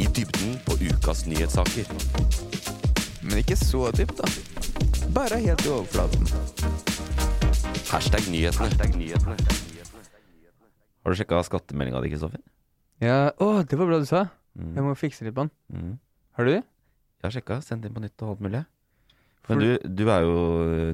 I dybden på ukas nyhetssaker. Men ikke så dypt, da. Bare helt i overflaten. Hashtag nyhetene. Har du sjekka skattemeldinga di, Kristoffer? Ja, Å, det var bra du sa. Jeg må fikse litt på den. Mm. Har du det? Jeg har sjekka. Sendt inn på nytt og alt mulig. Men du, du er jo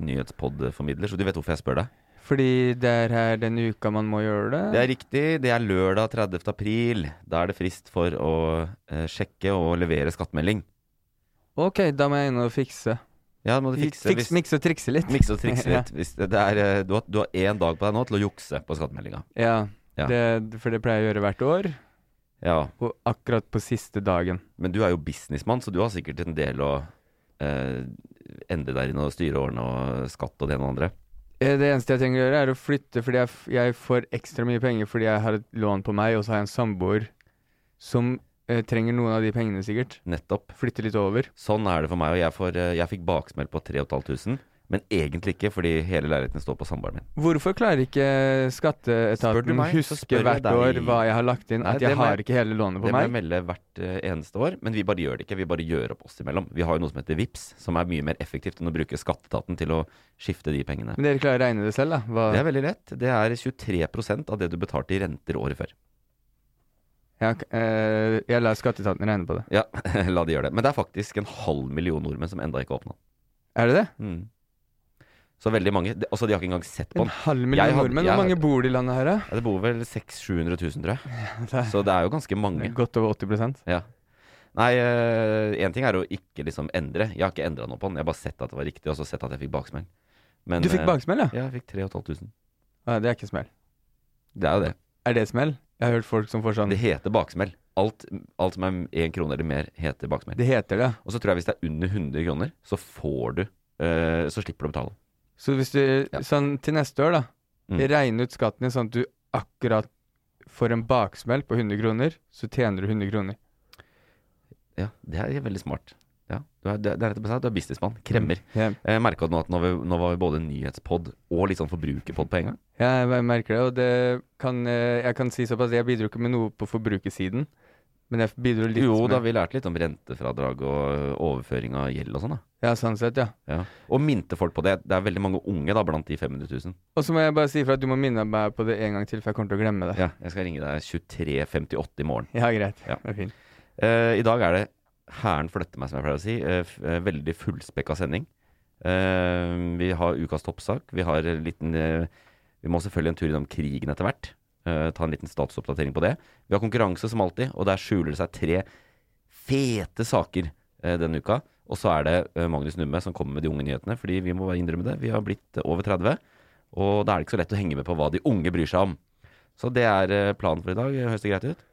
nyhetspodformidler, så du vet hvorfor jeg spør deg. Fordi det er her den uka man må gjøre det. Det er riktig. Det er lørdag 30. april. Da er det frist for å eh, sjekke og levere skattemelding. Ok, da må jeg inn og fikse. Ja, må du fikse Fiks, Mikse og trikse litt. Mikse og trikse litt. Hvis det det er, eh, du, har, du har én dag på deg nå til å jukse på skattemeldinga. Ja, Ja. Det, for det pleier jeg å gjøre hvert år. Ja. Og akkurat på siste dagen. Men du er jo businessmann, så du har sikkert en del å eh, endre der inne og styre og ordne og skatt og det ene og andre. Eh, Det eneste jeg trenger å gjøre, er å flytte, fordi jeg, f- jeg får ekstra mye penger fordi jeg har et lån på meg, og så har jeg en samboer som eh, trenger noen av de pengene, sikkert. Nettopp. Flytte litt over. Sånn er det for meg. Og jeg, får, eh, jeg fikk baksmell på 3500, men egentlig ikke fordi hele leiligheten står på samboeren min. Hvorfor klarer ikke Spør du skatteetaten meg, så huske spør jeg hvert deg. år hva jeg har lagt inn? Nei, At det jeg må har jeg- ikke hele Det lånet på må jeg meg? melde hvert eh, eneste år, men vi bare gjør det ikke. Vi bare gjør opp oss imellom. Vi har jo noe som heter VIPS, som er mye mer effektivt enn å bruke skatteetaten til å skifte de pengene. Men dere klarer å regne det selv, da? Hva, Det er veldig lett. Det er 23 av det du betalte i renter året før. Ja, ok, eh, jeg lar skatteetaten regne på det. Ja, la de gjøre det. Men det er faktisk en halv million nordmenn som enda ikke har åpna. Er det det? Mm. Så veldig mange de, Altså, de har ikke engang sett på En den. halv Jeg million hadde- nordmenn? jeg Hvor mange hadde- bor det i landet her, Ja, det bor vel 600 000-700 000, tror da? jeg. Så det er jo ganske Det mange. er Godt over 80 Ja. Nei, én ting er å ikke liksom endre. Jeg har ikke endra noe på den. Jeg har bare sett at det var riktig, og så sett at jeg fikk baksmell. Men, Du fikk eh, baksmell, ja? Ja, jeg fikk 3500. ja? Det er ikke smell. Det er jo det. Er det smell? Jeg har hørt folk som får sånn Det heter baksmell. Alt, alt som er én krone eller mer, heter baksmell. Det heter det. Og så tror jeg hvis det er under 100 kroner, så får du eh, Så slipper du å betale. Så hvis du Ja. sånn til neste år, da, Mm. regner ut skatten din sånn at du akkurat får en baksmell på 100 kroner, så tjener du 100 kroner. Ja, det er veldig smart. Ja, du er, det er rett og slett du er businessmann. Kremmer. Ja, Jeg merka Eh, nå at nå, var vi- nå var vi både nyhetspod og litt sånn forbrukerpod på en gang. jeg mer- merker det, og det kan eh, Jeg kan si såpass, jeg bidro ikke med noe på forbrukersiden, men jeg bidro litt Jo, da med vi lærte litt om rentefradrag og øh, overføring av gjeld og sånn, da. Ja, sånn sett, ja. Ja. Og minte folk på det. Det er veldig mange unge da blant de 500 000. Og så må jeg bare si ifra at du må minne meg på det en gang til, for jeg kommer til å glemme det. Ja, jeg skal ringe deg 23.58 i morgen. Ja, greit. Ja. Det er fint. Eh, I dag er det Hæren flytter meg, som jeg pleier å si. Eh, f- eh, veldig fullspekka sending. Eh, vi har ukas toppsak. Vi har en liten eh, Vi må selvfølgelig en tur innom krigen etter hvert. Eh, ta en liten statusoppdatering på det. Vi har konkurranse som alltid, og der skjuler det seg tre fete saker eh, denne uka. Og så er det eh, Magnus Numme som kommer med de unge nyhetene, fordi vi må bare innrømme det. Vi har blitt eh, over 30, og da er det ikke så lett å henge med på hva de unge bryr seg om. Så det er eh, planen for i dag. Høres det greit ut?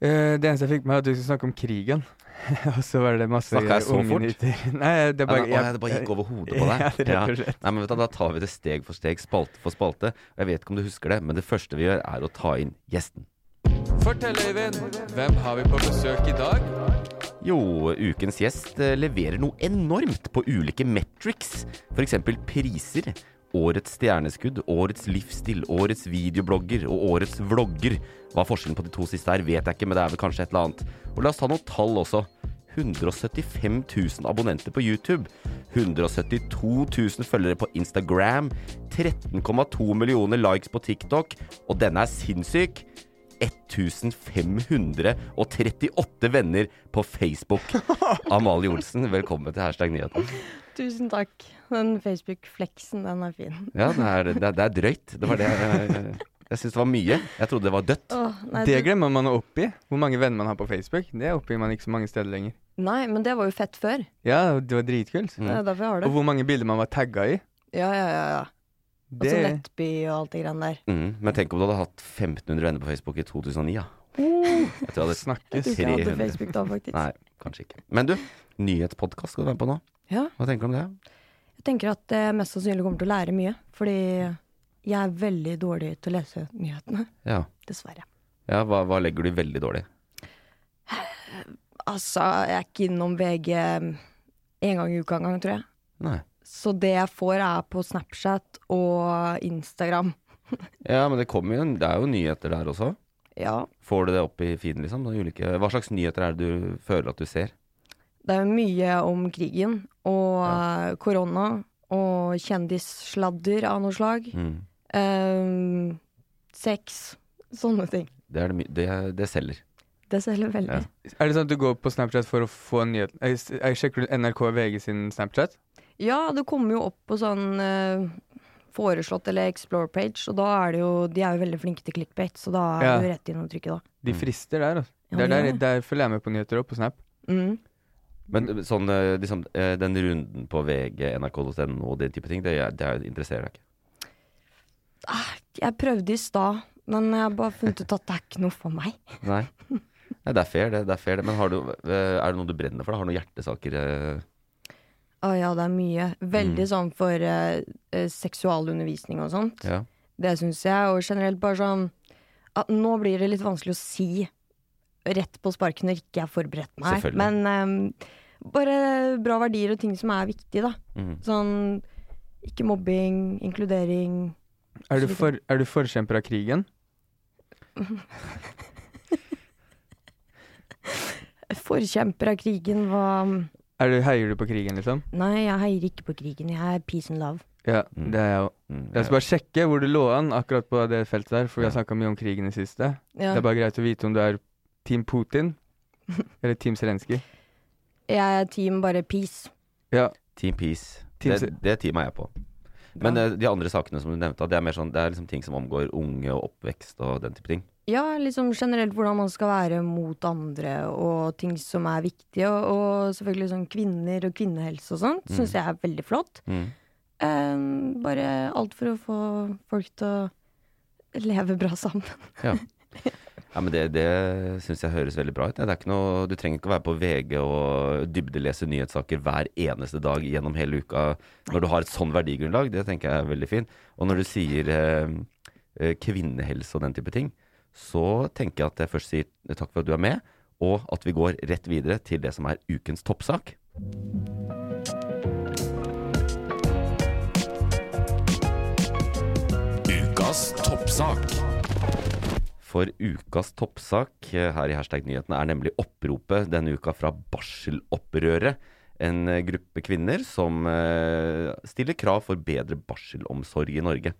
Eh, det eneste jeg fikk med, var at du skulle snakke om krigen. og så var det masse Snakket jeg så unge fort? nyheter. Nei, det er Nei, bare nei, å, ja, det bare gikk over hodet på Ja, deg. det er rett og slett. Nei, men vet du, Da tar vi det steg for steg, spalte for spalte. Og Jeg vet ikke om du husker det, men det første vi gjør, er å ta inn gjesten. Fortell, Øyvind, hvem har vi på besøk i dag? Jo, ukens gjest eh, leverer noe enormt på ulike metrics. F.eks. priser. Årets stjerneskudd, årets livsstil, årets videoblogger og årets vlogger. Hva forskjellen på de to siste er, vet jeg ikke, men det er vel kanskje et eller annet. Og la oss ta noen tall også. 175 000 abonnenter på YouTube. 172 000 følgere på Instagram. 13,2 millioner likes på TikTok. Og denne er sinnssyk. 1538 venner på Facebook. Amalie Olsen, velkommen til hashtag nyheten. Tusen takk. Den Facebook-fleksen, den er fin. Ja, det er, det er, det er drøyt. Det var det jeg, jeg, jeg syns det var mye. Jeg trodde det var dødt. Åh, nei, Det det- glemmer man å oppgi. Hvor mange venner man har på Facebook. Det oppgir man ikke så mange steder lenger. Nei, men det var jo fett før. Ja, det var dritkult. Mm. Det er derfor jeg har Og det. hvor mange bilder man var tagga i. Ja, ja, ja. ja. Og Det så Nettby og alt det greiene der. Mm, men tenk om du hadde hatt 1500 venner på Facebook i 2009, ja. Jeg tror jeg hadde Jeg tror snakkes. Uh. ikke jeg hadde 300. Facebook da, faktisk. Nei, kanskje ikke. Men du, nyhetspodkast skal du være med på nå. Ja, Hva tenker du om det? jeg tenker at jeg mest sannsynlig kommer til å lære mye. Fordi jeg er veldig dårlig til å lese nyhetene. Ja, Dessverre. ja hva, hva legger du i veldig dårlig? Altså, jeg er ikke innom VG en gang i uka engang, tror jeg. Nei. Så det jeg får, er på Snapchat og Instagram. Ja, men det kommer jo en, det er jo nyheter der også. Ja, Får du det opp i feeden, liksom? De ulike, hva slags nyheter er det du føler at du ser? Det er jo mye om krigen og eh, korona og kjendissladder av noe slag. Mm. Ehm, sex. Sånne ting. Det, er det, my- det, det selger. Det selger veldig. Ja. Er det sånn at du går på Snapchat for å få nyheten? Eh, s- eh, Sjekker du NRK og VG sin Snapchat? Ja, det kommer jo opp på sånn eh, foreslått eller explore-page, og da er det jo De er jo veldig flinke til clickbait, så da er Ja. du rett inn og trykker, da. De frister der, altså. Ja, Det er de der, gjør det. der følger jeg med på nyheter og på Snap. Mm. Men eh, sånn, eh, liksom, eh, den runden på VG, nrk.no og den type ting, det, er- det er- interesserer deg ikke? Jeg prøvde i stad, men jeg har bare funnet ut at det er ikke noe for meg. Nei. Nei, det er fair, det. det, er fair, det. Men har du, eh, er det noe du brenner for? Da? Har du noen hjertesaker? eh? Å ja, det er mye. Veldig sånn for eh, eh, seksualundervisning og sånn. sånt. Ja. Det syns jeg, og generelt bare sånn at Nå blir det litt vanskelig å si rett på sparket når ikke jeg har forberedt meg. Selvfølgelig. Men ehm, bare bra verdier og ting som er viktige, da. Mhm. Sånn ikke mobbing, inkludering. Er du, for, er du forkjemper av krigen? Forkjemper av krigen var Er du, heier du på krigen, liksom? Nei, jeg heier ikke på krigen. Jeg er peace and love. Ja, det er jeg òg. Mm, Jeg skal bare sjekke hvor du lå an akkurat på det feltet der, for vi har snakka mye om krigen i siste. Ja. Det er bare greit å vite om du er Team Putin eller Team Zelenskyj. Jeg er team bare peace. Ja. Team Peace. Team det, Se- det teamet er jeg på. Men eh, de andre sakene som du nevnte, det er mer sånn Det er liksom ting som omgår unge og oppvekst og den type ting. Ja, liksom generelt hvordan man skal være mot andre og ting som er viktige. Og, og selvfølgelig sånn kvinner og kvinnehelse og sånt Mm. syns jeg er veldig flott. Eh, bare alt for å få folk til å leve bra sammen. Ja. ja men det, det syns jeg høres veldig bra ut. Det er ikke noe, du trenger ikke å være på VG og dybdelese nyhetssaker hver eneste dag gjennom hele uka når du har et sånn verdigrunnlag. Det tenker jeg er veldig fint. Og når du sier eh, eh, kvinnehelse og den type ting, så tenker jeg at jeg først sier takk for at du er med, og at vi går rett videre til det som er ukens toppsak. Ukas toppsak. For ukas toppsak eh, her i hashtag nyhetene er nemlig oppropet denne uka fra Barselopprøret. En eh, gruppe kvinner som eh, stiller krav for bedre barselomsorg i Norge.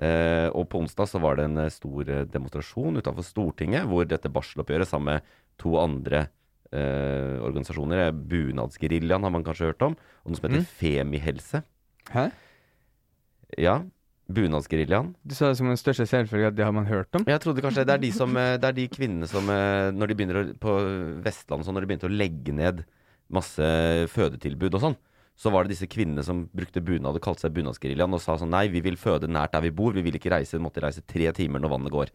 Eh, og på onsdag så var det en eh, stor eh, demonstrasjon utenfor Stortinget, hvor dette barseloppgjøret sammen med to andre eh, organisasjoner, eh, Bunadsgeriljaen har man kanskje hørt om, og noe som heter Femihelse. Hæ? Ja, Bunadsgeriljaen. Du sa det som den største selvfølge at det har man hørt om? Men Jeg trodde kanskje det er de, som, eh, det er de kvinnene som eh, når de begynner å, på Vestlandet sånn, når de begynte å legge ned masse fødetilbud og sånn, så var det disse kvinnene som brukte bunad og kalte seg Bunadsgeriljaen og sa sånn nei, vi vil føde nært der vi bor, vi vil ikke reise, måtte reise tre timer når vannet går.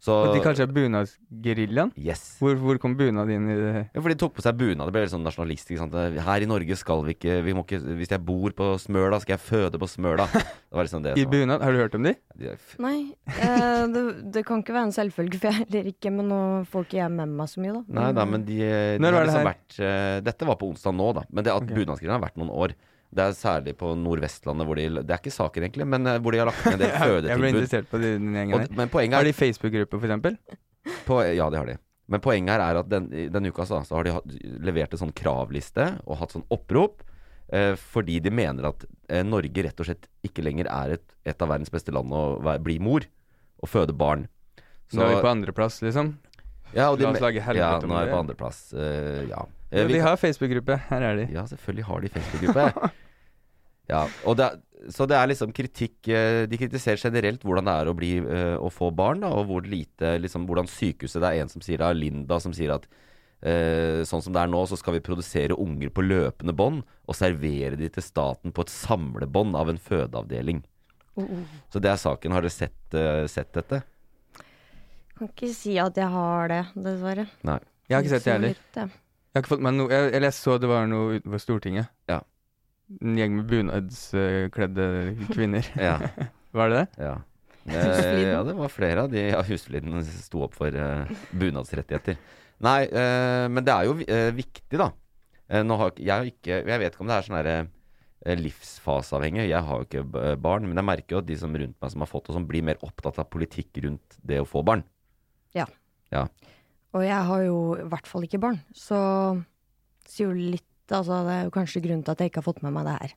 Så Og de kaller seg Bunadsgeriljaen? Yes. Hvor, hvor kom bunad inn i det? Ja, for de tok på seg bunad. Det ble litt sånn nasjonalist. Ikke sant? Her i Norge skal vi ikke, vi må ikke Hvis jeg bor på Smøla, skal jeg føde på Smøla. Det var liksom det. I som var- bunad? Har du hørt om de? De er f- Nei, eh, det, det kan ikke være en selvfølge, for jeg heller ikke, men nå får ikke jeg med meg så mye, da. Nei da, men de, de har Når var det liksom her? vært eh, Dette var på onsdag nå, da. Men det at bunadsgrillen har vært noen år. Det er særlig på Nordvestlandet hvor de Det er ikke saken, egentlig, men eh, hvor de har lagt ned en del Jeg ble fødetilbud. interessert på de- den gjengen Og, der. men poenget Har er de Facebook-gruppe, for eksempel? på, Ja, det har de. Men poenget her er at den, i denne uka så, så har de hatt- levert en sånn kravliste og hatt sånn opprop. eh, fordi de mener at eh, Norge rett og slett ikke lenger er et, et av verdens beste land å være, bli mor og føde barn. Nå er vi på andreplass, liksom. ja, La oss lage helvete ja, om nå er vi det. på andreplass. eh, ja. Eh, Men vi vi kan- har Facebook-gruppe. Her er de. Ja, selvfølgelig har de Facebook-gruppe. ja, og det er, så det er liksom kritikk eh, De kritiserer generelt hvordan det er å, bli, eh, å få barn, da, og hvor lite, liksom, hvordan sykehuset Det er en som sier det, Linda som sier at eh, sånn som det er nå, så skal vi produsere unger på løpende bånd og servere de til staten på et samlebånd av en fødeavdeling. Så det er saken. Har dere sett, eh, sett dette? Kan ikke si at jeg har det, dessverre. Nei. Jeg har ikke sett det heller. det. Jeg har ikke fått meg noe jeg, Eller jeg så det var noe utenfor Stortinget. Ja. En gjeng med bunadskledde kvinner. Ja. Var det det? ja. Eh, ja, det var flere av de ja, husfliden sto opp for eh, bunadsrettigheter. Nei, eh, men det er jo vi- eh, viktig, da. Eh, nå har ikke- jeg, har ikke, jeg vet ikke om det er sånn herre eh, livsfaseavhengig. Jeg har jo ikke b- barn, men jeg merker jo at de som rundt meg som har fått og som blir mer opptatt av politikk rundt det å få barn. Og jeg har jo i hvert fall ikke barn, så sier jo litt Altså, det er jo kanskje grunnen til at jeg ikke har fått med meg det her.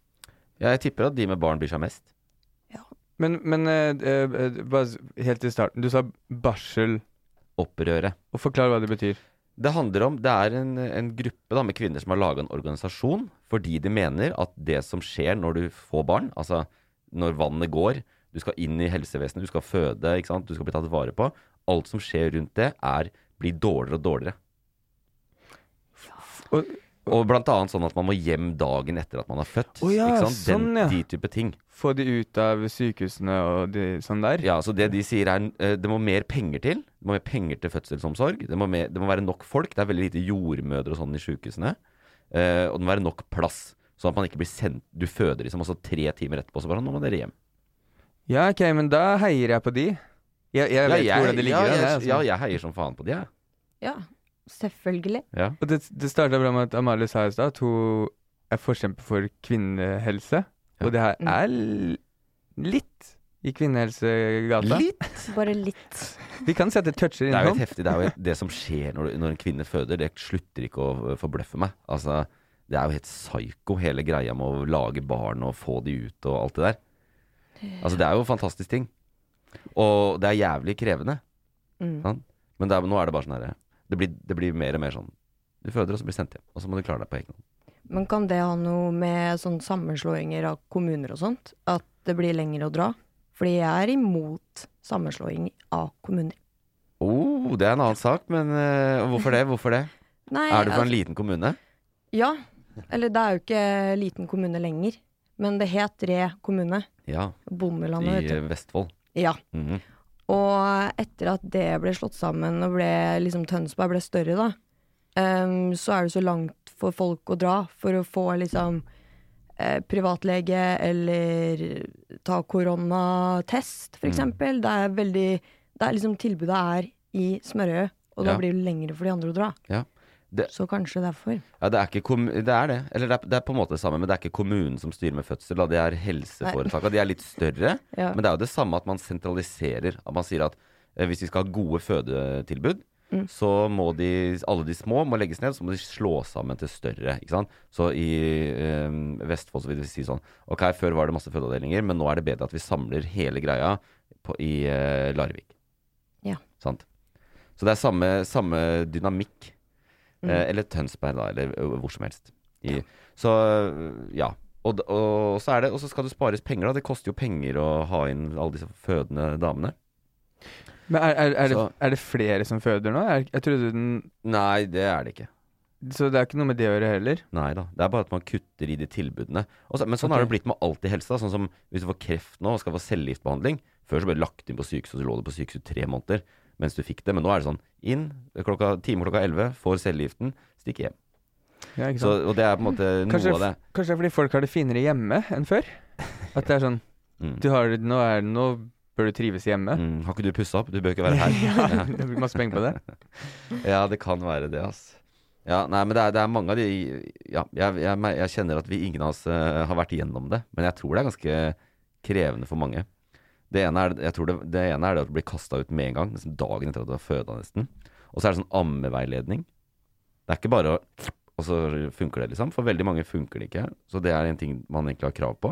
Ja, jeg tipper at de med barn bryr seg mest. Men, men eh, eh, bare s- helt til starten. Du sa barsel. Opprøret. Og forklar hva det betyr. Det handler om, det er en, en gruppe da, med kvinner som har laga en organisasjon fordi de mener at det som skjer når du får barn, altså når vannet går, du skal inn i helsevesenet, du skal føde, ikke sant? du skal bli tatt vare på Alt som skjer rundt det, er blir dårligere og dårligere. Og, Og blant annet sånn at man må hjem dagen etter at man har født. Å ja, ikke sant? Den, sånn, ja. De type ting. få de ut av sykehusene og de, sånn der. Ja, så det de sier er eh, det må mer penger til. Det må mer penger til fødselsomsorg. Det må, mer, det må være nok folk. Det er veldig lite jordmødre og sånn i sjukehusene. Eh, og det må være nok plass, sånn at man ikke blir sendt Du føder liksom, og så tre timer etterpå så bare Nå må dere hjem. Ja, ok, men da heier jeg på de. Jeg, jeg vet ikke hvordan det ja, ligger an. jeg, jeg, altså. ja, jeg heier som faen på de, jeg. Ja, selvfølgelig. Ja. Og det, det starta bra med at Amalie sa i stad at hun er forkjemper for kvinnehelse. Ja. Og det her er l- litt i kvinnehelsegata. Litt. Bare litt. Vi kan si at det toucher Det er jo innom. helt heftig. Det er jo helt- det som skjer når, du- når en kvinne føder, det slutter ikke å øh, forbløffe meg. Altså, det er jo helt psyko, hele greia med å lage barn og få de ut og alt det der. Altså, det er jo en fantastisk ting. Og det er jævlig krevende. Mm. sant? Men det er, nå er det bare sånn herre det, blir- det blir mer og mer sånn Du føder, og så blir du sendt hjem. Og så må du klare deg på egen hånd. Men kan det ha noe med sånn sammenslåinger av kommuner og sånt? At det blir lenger å dra? Fordi jeg er imot sammenslåing av kommuner. Oh, det er en annen sak, men øh, hvorfor det? Hvorfor det? Nei, Er du fra en altså- liten kommune? Ja. Eller det er jo ikke liten kommune lenger. Men det het Re kommune. Ja, i Bondelandet, vet øh, Vestfold. du. Ja. Mhm. Og etter at det ble slått sammen og ble liksom Tønsberg ble større, da, ehm, så er det så langt for folk å dra for å få liksom eh, privatlege eller ta koronatest, Mm. for eksempel. Det er veldig Det er liksom tilbudet er i Smørøy, og da Ja. blir det lengre for de andre å dra. Ja. Det- Så kanskje derfor. Ja, det er ikke kom det er det. Eller det er, det er på en måte det samme, men det er ikke kommunen som styrer med fødsel. Da. Det er helseforetaka. De er litt større. Ja. Men det er jo det samme at man sentraliserer. At man sier at eh, hvis vi skal ha gode fødetilbud, Mm. så må de, alle de små må legges ned, så må de slå sammen til større. Ikke sant? Så i eh, Vestfold så vil de si sånn Ok, før var det masse fødeavdelinger, men nå er det bedre at vi samler hele greia på, i eh, Larvik. Ja. Sant? Så det er samme, samme dynamikk. Mm. Mm. Eh, eller Tønsberg, da, eller ø, hvor som helst. I, Så ø, ja. Og, d- og, så er det, og så skal det spares penger, da. Det koster jo penger å ha inn alle disse fødende damene. Men er, er, er, det, Så- er det flere som føder nå? Jeg, jeg trodde den Nei, det er det ikke. Så det er ikke noe med det å gjøre heller. Nei da. Det er bare at man kutter i de tilbudene. Og så, men sånn Ok. har det blitt med alt i helse. Da. Sånn som hvis du får kreft nå og skal få cellegiftbehandling. Før så ble du lagt inn på sykehus, og så lå du på sykehus i tre måneder mens du fikk det. Men nå er det sånn inn klokka, time klokka elleve, får cellegiften, stikk hjem. Ja, ikke Så, sant? og det er på en måte Kanskje, noe av det. f- kanskje det er fordi folk har det finere hjemme enn før? At det er sånn Mm. du har, nå, er, nå bør du trives hjemme. Mm, har ikke du pussa opp? Du bør ikke være her. Ja, det blir masse penger på det. Ja, det kan være det, ass. Ja, nei, men det er, det er mange av de ja, jeg, jeg, mer- jeg kjenner at vi ingen av oss eh, har vært igjennom det, men jeg tror det er ganske krevende for mange. Det ene er, jeg tror det, det, ene er det at du blir kasta ut med en gang, liksom dagen etter at du har føda, nesten. Og så er det sånn ammeveiledning. Det er ikke bare å Og så funker det, liksom. For veldig mange funker det ikke. Så det er en ting man egentlig har krav på.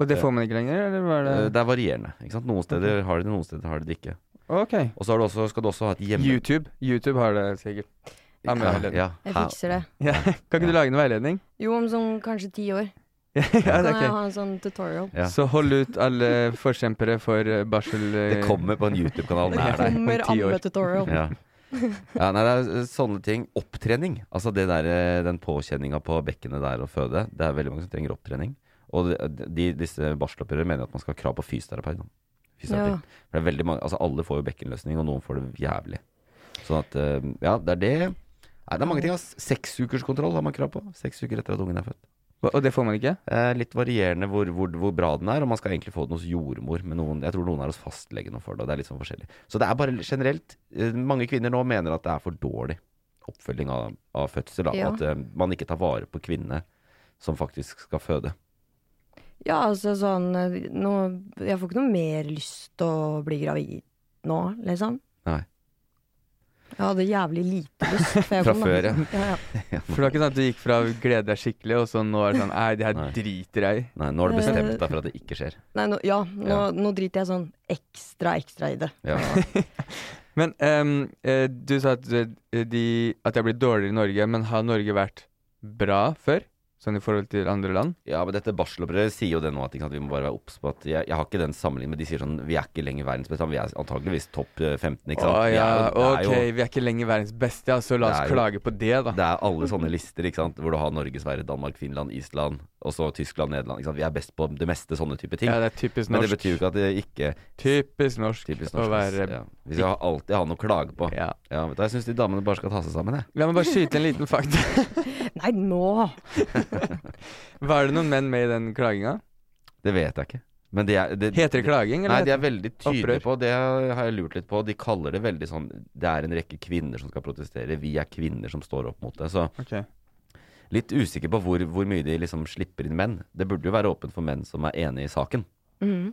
Og det får man ikke lenger, eller hva er det? Eh, Det er varierende. Ikke sant? Noen steder har de det, noen steder har de det ikke. Ok. Og så har du også, skal du også ha et hjemme... YouTube. YouTube har det sikkert. Ja, men Ja, veiledning. ja. Jeg Hæ? fikser det. Ja. Kan ikke du lage en veiledning? Jo, om sånn kanskje ti år ja, kan det er jeg ok. ha en sånn tutorial. Ja. Så hold ut alle forkjempere for eh, barsel... eh, Det kommer på en YouTube-kanal Det nær deg. kommer om ti år. andre tutorial. Ja. ja, nei, det er eh, sånne ting. Opptrening. Altså det der, eh, den påkjenninga på bekkenet der og føde. Det er veldig mange som trenger opptrening. Og de, de, disse barselopprørere mener at man skal ha krav på fysioterapeut. da. Ja. Fysioterapi. For det er veldig mange, altså alle får jo bekkenløsning, og noen får det jævlig. Sånn at eh, Ja, det er det. Nei, det er mange ting. ass. Seksukerskontroll har man krav på. Seks uker etter at ungen er født. Hva- Og det får man ikke? Eh, litt varierende hvor, hvor, hvor bra den er, og man skal egentlig få den hos jordmor. Men noen, jeg tror noen er hos fastlegen og får det. og Det er litt sånn forskjellig. Så det er bare generelt eh, Mange kvinner nå mener at det er for dårlig oppfølging av, av fødsel. Da. Ja. At eh, man ikke tar vare på kvinnene som faktisk skal føde. Ja, altså sånn eh, nå, Jeg får ikke noe mer lyst til å bli gravid nå, liksom. Nei. Jeg hadde jævlig lite lyst. for jeg Fra kom, da. før, ja. ja, ja. For det var ikke sånn at du gikk fra å glede deg skikkelig, og så nå er det sånn Nei, det her Nei. driter jeg i. Nei, nå har du bestemt Eh. deg for at det ikke skjer. Nei, nå, ja, nå, Ja. nå driter jeg sånn ekstra, ekstra i det. Ja. Men ehm, eh, du sa at, eh, de, at det har blitt dårligere i Norge, men har Norge vært bra før? Sånn i forhold til andre land? Ja, men dette barselopprøret sier jo det nå, at ikke sant, vi må bare være obs på at jeg, jeg har ikke den sammenligningen, men de sier sånn Vi er ikke lenger verdens beste, men vi er antageligvis topp eh, 15, ikke sant? Å Vi er ja, jo- det er ok, jo- vi er ikke lenger verdens beste, ja, så la Det oss er jo- klage på det, da. Det er alle sånne lister ikke sant? hvor du har Norge, Sverige, Danmark, Finland, Island, og så Tyskland, Nederland. Ikke sant? Vi er best på det meste sånne type ting. Ja, det er typisk Men det norsk. betyr jo ikke at det ikke Typisk norsk, typisk norsk. å være ja. Vi skal ha- alltid ha noe å klage på. ja. Ja, vet du, Jeg syns de damene bare skal ta seg sammen, jeg. La meg bare skyte en liten fakta. Nei, nå! Var det noen menn med i den klaginga? Det vet jeg ikke. Men de er, det, Heter det klaging, Nei, eller? de er veldig tydelige opprør? på, det har jeg lurt litt på. De kaller det veldig sånn Det er en rekke kvinner som skal protestere. Vi er kvinner som står opp mot det. Så Ok. litt usikker på hvor, hvor mye de liksom slipper inn menn. Det burde jo være åpent for menn som er enig i saken. Mhm.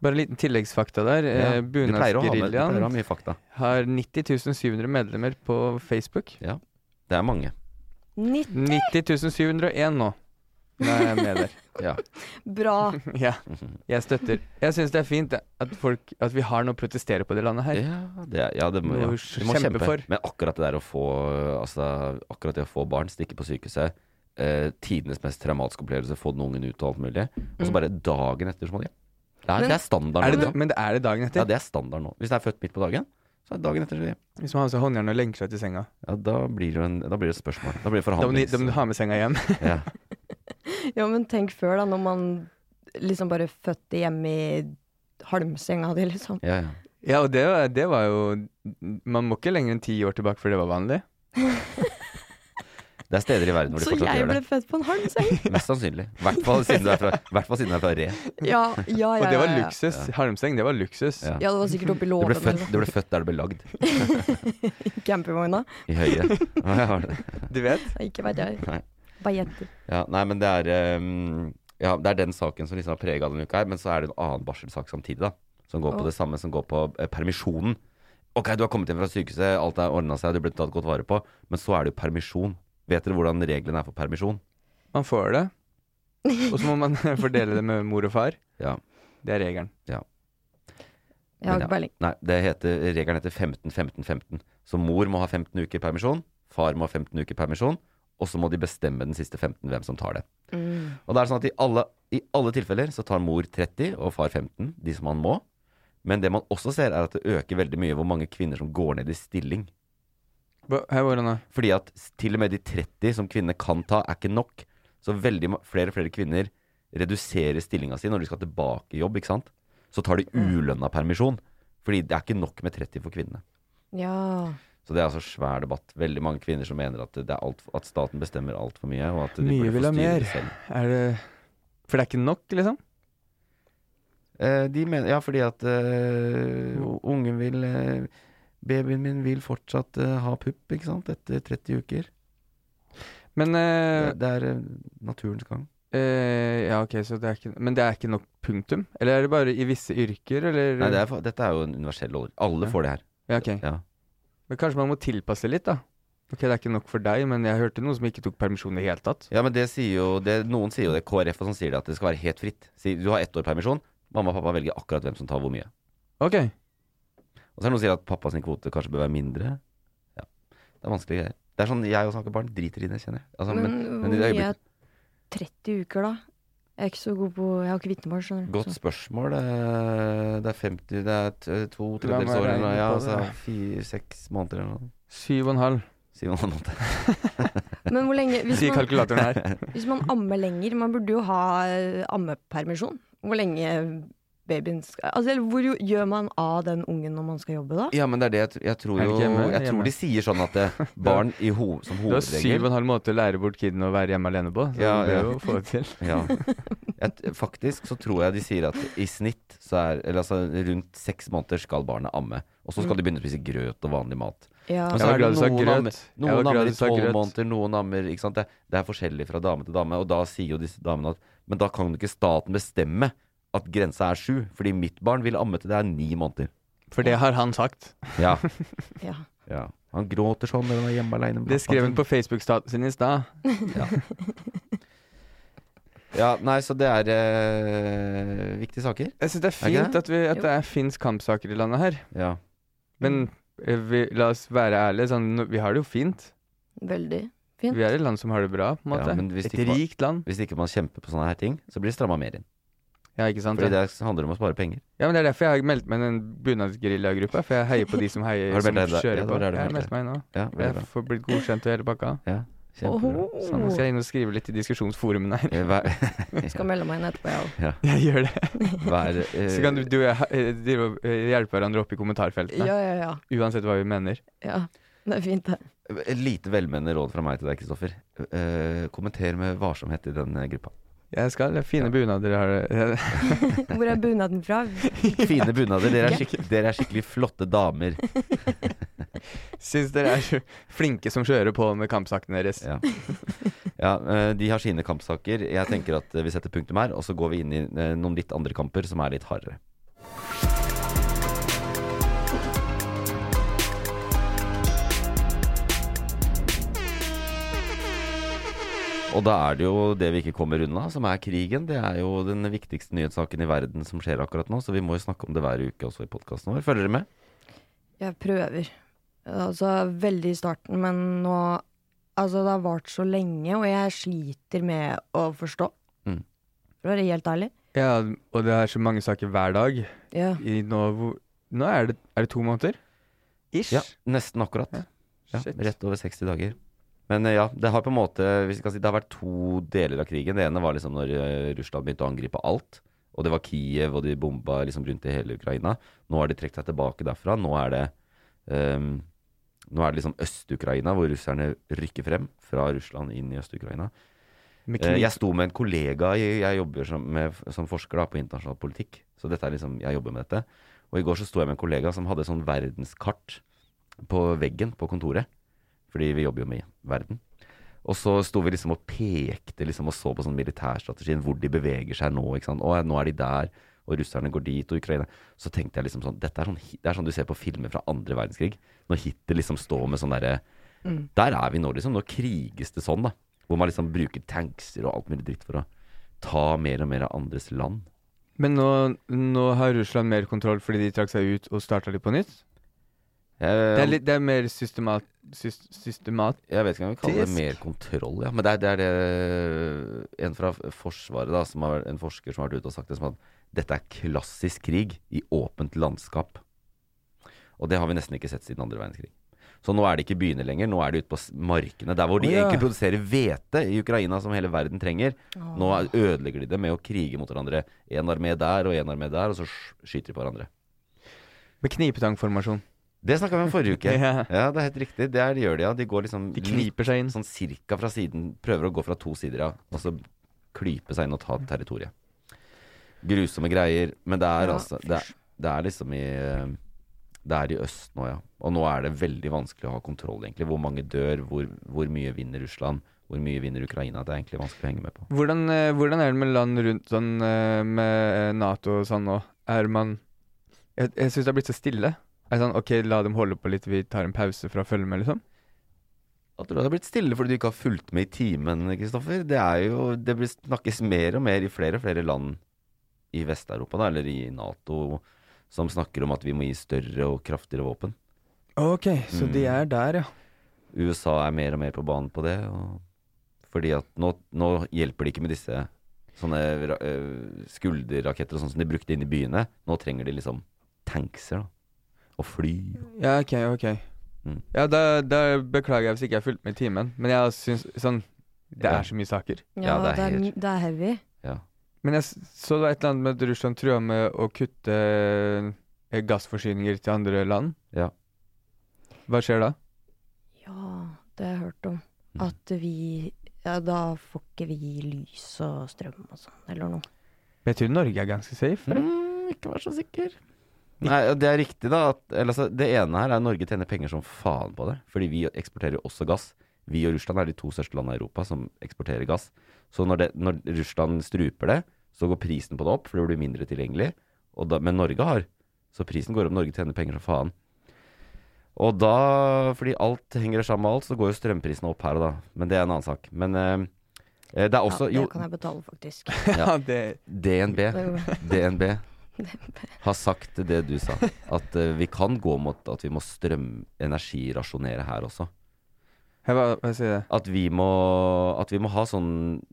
Bare en liten tilleggsfakta der. Ja, Eh, de pleier å ha med- de pleier å ha Bunadsgeriljaen mye fakta. har 90 700 medlemmer på Facebook. Det er mange. Nitt 90 701 nå. Da er jeg med der. Ja. bra. Ja, jeg støtter. Jeg syns det er fint jeg, at, folk, at vi har noe å protestere på det landet her. Ja, det, er- ja, det må, Må ja. jo Vi må kjempe kjempe for. Men akkurat det der å få Altså, akkurat det å få barn, stikke på sykehuset, eh, tidenes mest traumatiske opplevelse, få den ungen ut og alt mulig, og så bare dagen etter så må de hjem. Det er, Men- det er standard Er nå. det, da- liksom. men det er det dagen Ja, etter. det er standard nå. Hvis det er født midt på dagen, så er det dagen etter så er de hjem. Hvis man har med seg håndjern og lenker seg til senga. Ja, da blir det jo en, da blir det et spørsmål. Da blir det Da må du, forhandlings... da må du ha med senga hjem. ja. Ja, men tenk før, da, når man liksom bare fødte hjemme i halmsenga di, liksom. Ja, ja. Ja, og det, var- det var jo Man må ikke lenger enn ti år tilbake før det var vanlig. Det er steder i verden hvor de Så fortsatt jeg gjør ble det. født på en halmseng! Mest sannsynlig. I hvert fall siden du er fra, i hvert fall siden du er fra Re. Ja, ja, ja. Og det var ja, ja. luksus. Harmseng, det var luksus. Ja. Ja, det var sikkert Du oppi ble låven født, eller du ble født der du ble lagd. noe. Campingvogna. I høye. Ja, jeg har det. Du vet? Ikke vet Nei. jeg. Bajetter. Ja, nei, men det er ehm, Ja, det er den saken som liksom har prega denne uka her, men så er det en annen barselsak samtidig, da. Som går på Åh. det samme, som går på eh, permisjonen. Ok, du har kommet hjem fra sykehuset, alt er ordna seg, du blir tatt godt vare på, men så er det jo permisjon. Vet dere hvordan reglene er for permisjon? Man får det. Og så må man fordele det med mor og far. Ja. Det er regelen. Jeg har Men ja. ikke peiling. Nei, det heter, regelen heter 15-15-15. Så mor må ha 15 uker permisjon, far må ha 15 uker permisjon, og så må de bestemme den siste 15 hvem som tar det. Og det er sånn at i alle, i alle tilfeller så tar mor 30 og far 15, de som han må. Men det man også ser er at det øker veldig mye hvor mange kvinner som går ned i stilling. Hva- Hei, hvordan da? Fordi at s- til og med de 30 som kvinnene kan ta, er ikke nok. Så veldig ma- flere og flere kvinner reduserer stillinga si når de skal tilbake i jobb, ikke sant. Så tar de ulønna permisjon. Fordi det er ikke nok med 30 for kvinnene. Ja. Så det er altså svær debatt. Veldig mange kvinner som mener at, det er alt, at staten bestemmer altfor mye. Og at de Mye burde få vil ha styre mer. det selv. Er det For det er ikke nok, liksom? Eh, de mener, ja, fordi at eh, u- ungen vil eh, Babyen min vil fortsatt eh, ha pupp, ikke sant, etter 30 uker. Men eh, Det, det er eh, naturens gang. eh, Ja, ok, så det er ikke Men det er ikke nok punktum? Eller er det bare i visse yrker, eller Nei, det er, fa- dette er jo en universell ordning. Alle Ja. får det her. Ja, ok. Ja. Men kanskje man må tilpasse litt, da. Ok, det er ikke nok for deg, men jeg hørte noen som ikke tok permisjon i det hele tatt. ja, men det sier jo det, Noen sier jo det, KrF og sånn sier det, at det skal være helt fritt. Si, du har ett år permisjon, mamma og pappa velger akkurat hvem som tar hvor mye. Ok. Og så er det noen som sier at pappa sin kvote kanskje bør være mindre. Ja. Det er vanskelige greier. Det er sånn jeg og snakker barn driter i det, kjenner jeg. Altså, Men men, hvor i det mye øyeblikk- er 30 uker, da? Jeg er ikke så god på Jeg har ikke vitnemål, skjønner du. Godt så- spørsmål. eh, Det er 50 Det er t- to La meg tredjedels år eller regne noe. Ja, på altså det. fire-seks måneder eller noe. Syv og en halv. Sier man noe til. Men hvor lenge hvis Sier man, kalkulatoren her. hvis man ammer lenger Man burde jo ha eh, ammepermisjon. Hvor lenge babyen skal Altså, eller hvor jo- gjør man av den ungen når man skal jobbe, da? Ja, men det er det jeg, tr- jeg tror Er det jo ikke hjemme? Jeg tror Hjemme. de sier sånn at eh, barn i ho som Du har syv og hovedregel en halv måned til å lære bort kiden å være hjemme alene på. Så Ja, det ja. er jo å få det til. ja. jeg, t- Faktisk så tror jeg de sier at i snitt så er Eller altså rundt seks måneder skal barnet amme. Og Mm. så skal de begynne å spise grøt og vanlig mat. Ja. Men så er det glad du sa noen grøt. ammer- Jeg var Noen glad ammer du i sa tolv grøt. måneder, noen ammer ikke sant? Det, det er forskjellig fra dame til dame. Og da sier jo disse damene at Men da kan jo ikke staten bestemme at grensa er sju, fordi mitt barn vil amme til det er ni måneder. For det har han sagt. Ja. ja. ja. Han gråter sånn når han er hjemme aleine. Det skrev han på Facebook-statusen sin i stad. Ja, nei, så det er eh, viktige saker. Jeg syns det er Er ikke fint det? at, vi, at Jo. det er finsk kampsaker i landet her. Ja. Men eh, vi, la oss være ærlige. Sånn, nå- vi har det jo fint. Veldig. Vi er et land som har det bra, på en Ja, måte. men hvis et ikke man- rikt land. Hvis ikke man kjemper på sånne her ting, så blir det stramma mer inn. Ja, ikke sant? Fordi Ja. det handler om å spare penger. ja, men Det er derfor jeg har meldt meg i den bunadsgeriljagruppe. For jeg heier på de som heier Har du som meldt deg der? kjører Ja, på. der er du jeg har meldt meldt meg nå. Ja, veldig bra. Jeg får blitt godkjent og hele pakka. Ja, kjempebra. Nå Samme skal jeg inn og skrive litt i diskusjonsforumene her. Eh, Hver, Skal melde meg inn etterpå, jeg òg. Jeg gjør det. hver, eh, Så kan du, du og jeg eh, drive og, eh, hjelpe hverandre opp i kommentarfeltene. Ja, ja, ja. Uansett hva vi mener. ja. Det er fint, det. Et lite velmenende råd fra meg til deg, Kristoffer. Eh, kommenter med varsomhet i den eh, gruppa. Jeg skal, det er Fine bunader har det. Hvor er bunaden fra? Fine bunader. Dere er, skikk- dere er skikkelig flotte damer. Syns dere er så flinke som kjører på med kampsakene deres. Ja. Ja, eh, de har sine kampsaker. Jeg tenker at eh, vi setter punktum her, og så går vi inn i eh, noen litt andre kamper som er litt hardere. Og da er det jo det vi ikke kommer unna, som er krigen. Det er jo den viktigste nyhetssaken i verden som skjer akkurat nå, så vi må jo snakke om det hver uke også i podkasten vår. Følger dere med? Jeg prøver. Altså, veldig i starten, men nå Altså, det har vart så lenge, og jeg sliter med å forstå. Mm. For å være helt ærlig. Ja, og det er så mange saker hver dag. Ja. I nå, hvor- nå er det, er det to måneder? Ish. Ja, nesten akkurat. Ja, Shit. rett over 60 dager. Men eh, ja, det har på en måte hvis vi skal si, Det har vært to deler av krigen. Det ene var liksom når eh, Russland begynte å angripe alt. Og det var Kiev, og de bomba liksom rundt i hele Ukraina. Nå har de trukket seg tilbake derfra. Nå er det ehm, Nå er det liksom Øst-Ukraina, hvor russerne rykker frem fra Russland inn i Øst-Ukraina. Med Eh, kniv. Jeg sto med en kollega i- Jeg jobber som, med, som forsker da, på internasjonal politikk Så dette er liksom, jeg jobber med dette Og i går så sto jeg med en kollega som hadde sånn verdenskart På veggen på kontoret Fordi vi jobber jo med verden Og så sto vi liksom og pekte liksom, Og så på sånn militærstrategien Hvor de beveger seg nå ikke sant? Og nå er de der og russerne går dit, og Ukraina Så tenkte jeg liksom sånn, dette er sånn hi- Det er sånn du ser på filmer fra andre verdenskrig Når Hitler liksom står med sånn derre der er vi nå, liksom. Nå kriges det sånn, da. Hvor man liksom bruker tankser og alt mulig dritt for å ta mer og mer av andres land. Men nå, nå har Russland mer kontroll fordi de trakk seg ut og starta litt på nytt? Jeg, Det er, litt, det er mer systemat... Syst, systemat jeg vet ikke om jeg vil kalle det Tisk. mer kontroll, ja. Men det er, det er det en fra Forsvaret, da, som har, en forsker som har vært ute og sagt det som at dette er klassisk krig i åpent landskap. Og det har vi nesten ikke sett siden andre verdenskrig. Så nå er det ikke i byene lenger, nå er det ute på s- markene. Der hvor de Å, ja. egentlig produserer hvete i Ukraina, som hele verden trenger. Nå er- ødelegger de det med å krige mot hverandre. Én armé der og én armé der, og så sk- skyter de på hverandre. med knipetangformasjon. Det snakka vi om forrige uke. Ja. Ja, det er helt riktig. Det er, de gjør de, ja. De går liksom De kniper seg inn. litt sånn cirka fra siden. Prøver å gå fra to sider, ja. Og så klype seg inn og ta territoriet. Grusomme greier. Men det er Ja, altså det er, det er liksom i eh, Det er i øst nå, ja. Og nå er det veldig vanskelig å ha kontroll, egentlig. Hvor mange dør, hvor, hvor mye vinner Russland, hvor mye vinner Ukraina. Det er egentlig vanskelig å henge med på. Hvordan, eh, hvordan er det med land rundt sånn eh, med eh, Nato og sånn nå? Er man Jeg, jeg syns det har blitt så stille. Er det sånn OK, la dem holde på litt, vi tar en pause for å følge med, liksom? At du har blitt stille fordi du ikke har fulgt med i timen, Kristoffer. Det er jo Det blir snakkes mer og mer i flere og flere land i Vest-Europa, da, eller i Nato, som snakker om at vi må gi større og kraftigere våpen. Ok, så de Mm. er der, ja. USA er mer og mer på banen på det. Og fordi at nå, nå hjelper det ikke med disse sånne ra- øh, skulderraketter og sånn som de brukte inne i byene. Nå trenger de liksom tankser da, og fly. Ja, ok, ok. Mm. Ja, da, da beklager jeg hvis ikke jeg har fulgt med i timen, men jeg syns sånn Det Ja. er så mye saker. Ja, det er helt- det er heavy. Ja. Men jeg s- så det var et eller annet med at Russland trua med å kutte eh, gassforsyninger til andre land. Ja. Hva skjer da? Ja, det har jeg hørt om. Mm. At vi ja, Da får ikke vi lys og strøm og sånn, eller noe. Men jeg tror Norge er ganske safe. eller? Mm, ikke vær så sikker. Nei, og Det er riktig, da. At, eller, altså, det ene her er at Norge tjener penger som faen på det. Fordi vi eksporterer jo også gass. Vi og Russland er de to største landene i Europa som eksporterer gass. Så når, det, når Russland struper det, så går prisen på det opp, for det blir mindre tilgjengelig. Og da, men Norge har. Så prisen går opp. Norge tjener penger som faen. Og da, fordi alt henger sammen med alt, så går jo strømprisene opp her og da. Men det er en annen sak. Men eh, eh, det er Ja, også det Jo, kan jeg betale, faktisk. Ja. det DNB. DNB DNB. har sagt det du sa. At eh, vi kan gå mot at vi må strømenergirasjonere her også. jeg, hva, hva sier jeg? At vi, må, at vi må ha sånn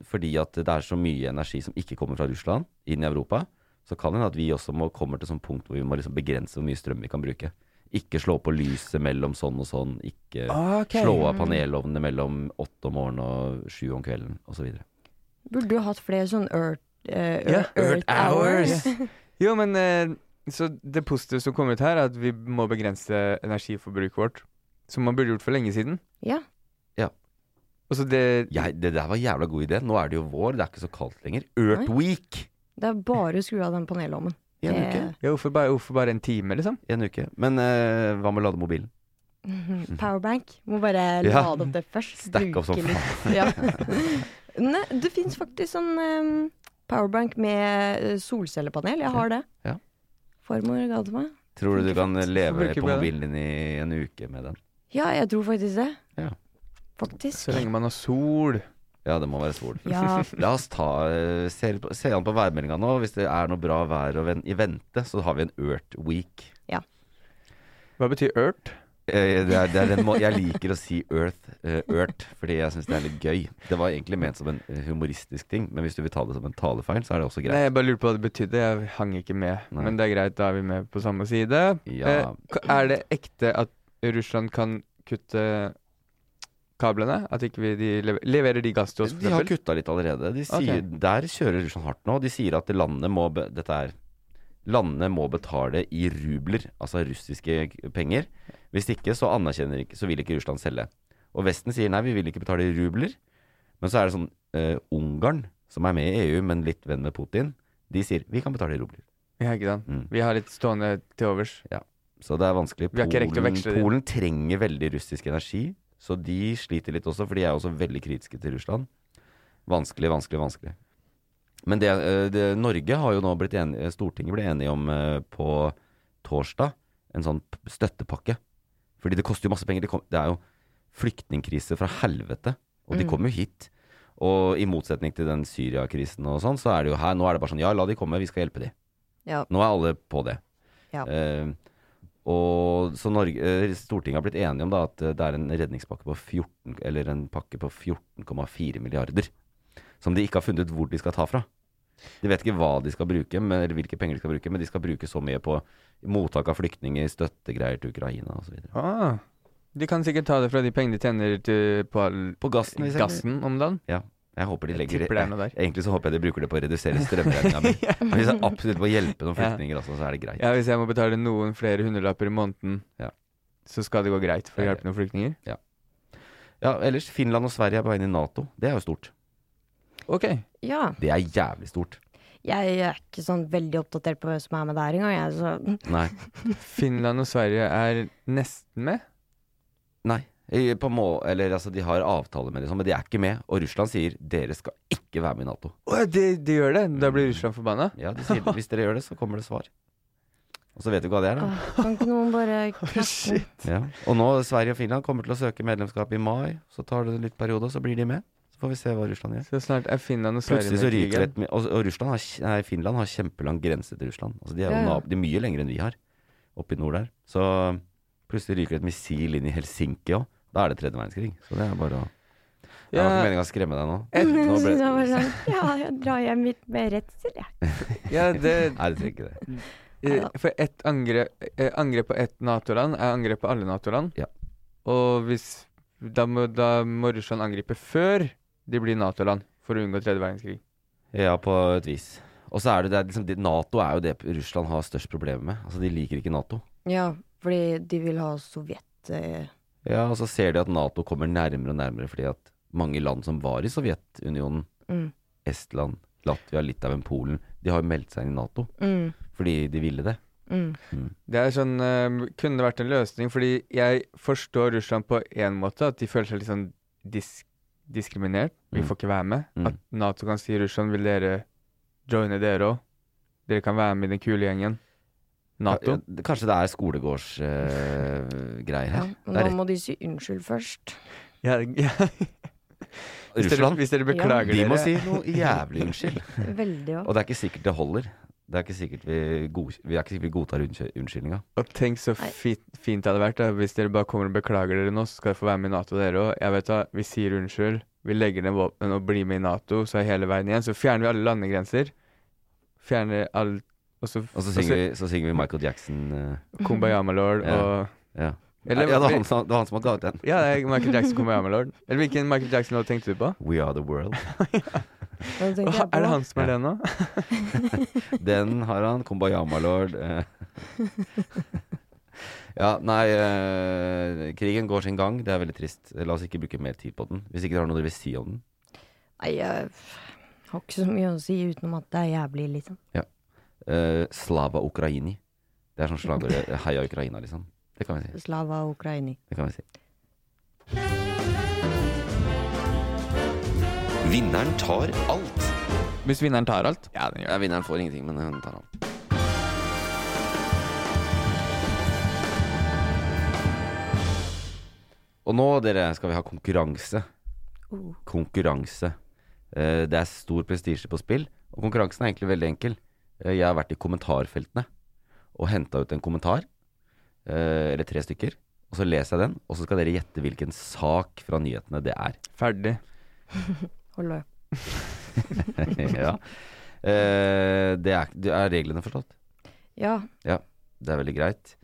fordi at det er så mye energi som ikke kommer fra Russland, inn i Europa. Så kan det hende at vi også må kommer til sånn punkt hvor vi må liksom begrense hvor mye strøm vi kan bruke. Ikke slå på lyset mellom sånn og sånn. Ikke Ah, Ok. slå av panelovnene mellom åtte om morgenen og sju om kvelden, osv. Burde du hatt flere sånn Earth, eh, Ja, earth, Hours? Jo, men eh, Så det positive som kommer ut her, er at vi må begrense energiforbruket vårt. Som man burde gjort for lenge siden. Ja. Og så det Jeg, det der var jævla god idé. Nå er det jo vår, det er ikke så kaldt lenger. Earth Week! Det er bare å skru av den panelommen. I en uke. ja, hvorfor, bare, hvorfor bare en time, liksom? I en uke. Men eh, hva med å lade mobilen? Mhm. Powerbank. Må bare Ja. lade opp det først. Stack opp sånn. som bruke litt. Ja. Nei, det fins faktisk sånn em, powerbank med eh, solcellepanel. Jeg har det. Ja. Farmor ga det til meg. Tror du du kan leve Bruker på bare- mobilen din i en uke med den? Ja, jeg tror faktisk det. Ja. Så Faktisk. lenge man har sol. Ja, det må være sol. Ja. La oss ta, eh, se, litt på- se an på værmeldinga nå. Hvis det er noe bra vær å ven i vente, så har vi en Earth Week. Hva betyr ørt? Eh, Det er, det er en må jeg liker å si Earth, eh, Earth fordi jeg syns det er litt gøy. Det var egentlig ment som en eh, humoristisk ting, men hvis du vil ta det som en talefeil, så er det også Nei, greit. jeg bare lurte på hva det betydde. Jeg hang ikke med. Nei. Men det er greit, da er vi med på samme side. Ja. Eh, ka- er det ekte at Russland kan kutte kablene? At ikke vi de lever, leverer de gass til oss, De har kutta litt allerede. De sier, Ok. Der kjører Russland hardt nå. De sier at landet må, be, dette er, landet må betale i rubler, altså russiske k- penger. Hvis ikke så anerkjenner ikke, så vil ikke Russland selge. Og Vesten sier nei, vi vil ikke betale i rubler. Men så er det sånn eh, Ungarn, som er med i EU, men litt venn med Putin, de sier vi kan betale i rubler. Ja, ikke sant? Mm. Vi har litt stående til overs. Så det er vanskelig. Vi har ikke rekt å Polen, veksle det. Polen trenger veldig russisk energi, så de sliter litt også, for de er også veldig kritiske til Russland. Vanskelig, vanskelig, vanskelig. Men det, eh, det, Norge har jo nå blitt enige, Stortinget ble enige om eh, på torsdag en sånn p- støttepakke. Fordi det koster jo masse penger. Det, kom, det er jo flyktningkrise fra helvete, og de Mm. kommer jo hit. Og i motsetning til den Syria-krisen og sånn, så er det jo her, nå er det bare sånn ja, la de komme, vi skal hjelpe de. ja. Nå er alle på det. Ja. Eh, og så Norge, eh, Stortinget har blitt enige om da, at eh, det er en redningspakke på 14, eller en pakke på 14,4 milliarder. Som de ikke har funnet ut hvor de skal ta fra. De vet ikke hva de skal bruke, men, eller hvilke penger de skal bruke, men de skal bruke så mye på mottak av flyktninger, støttegreier til Ukraina osv. Ah, de kan sikkert ta det fra de pengene de tjener til, på all På gassen. Liksom. gassen om dagen. Jeg håper de Jeg legger tipper det er noe der. Egentlig så håper jeg de bruker det på å redusere strømregninga mi. Men hvis jeg absolutt må hjelpe noen flyktninger, også, så er det greit. Ja, hvis jeg må betale noen flere hundrelapper i måneden, Ja. så skal det gå greit for å Ja, hjelpe noen flyktninger. Ja, ellers Finland og Sverige er på vei inn i Nato. Det er jo stort. Ok. ja. Det er jævlig stort. Jeg er ikke sånn veldig oppdatert på hvem som er med der engang. Jeg, så Nei. Finland og Sverige er nesten med. Nei. I- På må, eller, altså, de har avtale med liksom, men de er ikke med. Og Russland sier dere skal ikke være med i Nato. Å, de, de gjør det! Da Mm. blir Russland forbanna. Ja, de sier Hvis dere gjør det, så kommer det svar. Og så vet du ikke hva det er, da. Åh, kan ikke noen bare knappe Ja. Og nå Sverige og Finland kommer til å søke medlemskap i mai. Så tar det en litt periode, og så blir de med. Så får vi se hva Russland gjør. Så snart er Finland og Sverige Plutselig så med i ryker det et krigen. med- Og, og Russland har, nei, Finland har kjempelang grense til Russland. Altså, de er jo Ja, ja. nab- de er mye lenger enn vi har, oppe i nord der. Så plutselig ryker det et missil inn i Helsinki òg. Da er det tredje verdenskrig. Så det er bare å Det var Ja. ikke meninga å skremme deg nå. Så nå ble... da var det sånn, ja, jeg drar hjem hit med redsel, jeg. Ja, det, Nei, du trenger ikke det. eh, for ett angrep, eh, angrep på ett Nato-land er angrep på alle Nato-land. Ja. Og hvis da må, da må Russland angripe før de blir Nato-land, for å unngå tredje verdenskrig. Ja, på et vis. Og så er det, det er liksom, de- Nato er jo det Russland har størst problemer med. Altså, De liker ikke Nato. Ja, fordi de vil ha Sovjet eh, Ja, Og så ser de at Nato kommer nærmere og nærmere fordi at mange land som var i Sovjetunionen, mm, Estland, Latvia, Litauen, Polen, de har jo meldt seg inn i Nato mm, fordi de ville det. mm. Det er sånn, eh, kunne vært en løsning, fordi jeg forstår Russland på én måte, at de føler seg litt sånn disk diskriminert. Vi Mm. får ikke være med. Mm. At Nato kan si Russland vil dere joine dere òg. Dere kan være med i den kule gjengen. Nato. Ja, ja, Kanskje det er skolegårdsgreier Ja, her. men det er da må de si unnskyld først. Ja, ja. rett. Hvis, dere, Russland, hvis dere Ja. beklager de dere må si noe jævlig unnskyld. Veldig Og òg. det er ikke sikkert det holder. Det er ikke sikkert vi, god, vi, er ikke sikkert vi godtar unnsky- unnskyldninga. Og tenk så Nei. fint, fint det hadde vært da, hvis dere bare kommer og beklager dere nå, så skal dere få være med i Nato dere òg. Jeg vet da, vi sier unnskyld, vi legger ned våpen og blir med i Nato, så er hele verden igjen. Så fjerner vi alle landegrenser. Fjerner all Og så, Og så synger, vi, så synger vi Michael Jackson. eh, Kumbaya, my lord, Ja. og ja. Eller- ja, det, var han, som- det var han som hadde laget den. Ja, det er Michael Jackson, Kumbaya, my lord. Eller hvilken Michael Jackson-låt tenkte du på? We Are The World. Da tenker jeg er det på- han som er Ja. det nå? Den har han. Kumbayama Lord. eh. Ja, nei eh, Krigen går sin gang. Det er veldig trist. La oss ikke bruke mer tid på den. Hvis ikke dere har noe dere vil si om den. Nei, jeg har ikke så mye å si utenom at det er jævlig, liksom. Eh, Slava Ukraini. Det er sånn slagord. eh, Heia Ukraina, liksom. Det kan vi si. Slava Ukraini. Det kan vi si. Vinneren tar alt. Hvis vinneren tar alt? Ja, den Ja, vinneren får ingenting, men hun tar alt. Og nå, dere, skal vi ha konkurranse. Konkurranse. Eh, Det er stor prestisje på spill, og konkurransen er egentlig veldig enkel. Eh, Jeg har vært i kommentarfeltene og henta ut en kommentar, eh, eller tre stykker. Og så leser jeg den, og så skal dere gjette hvilken sak fra nyhetene det er. Ferdig. Hold løp. ja. Eh, Det er, det er reglene forstått. Ja. Det er veldig greit.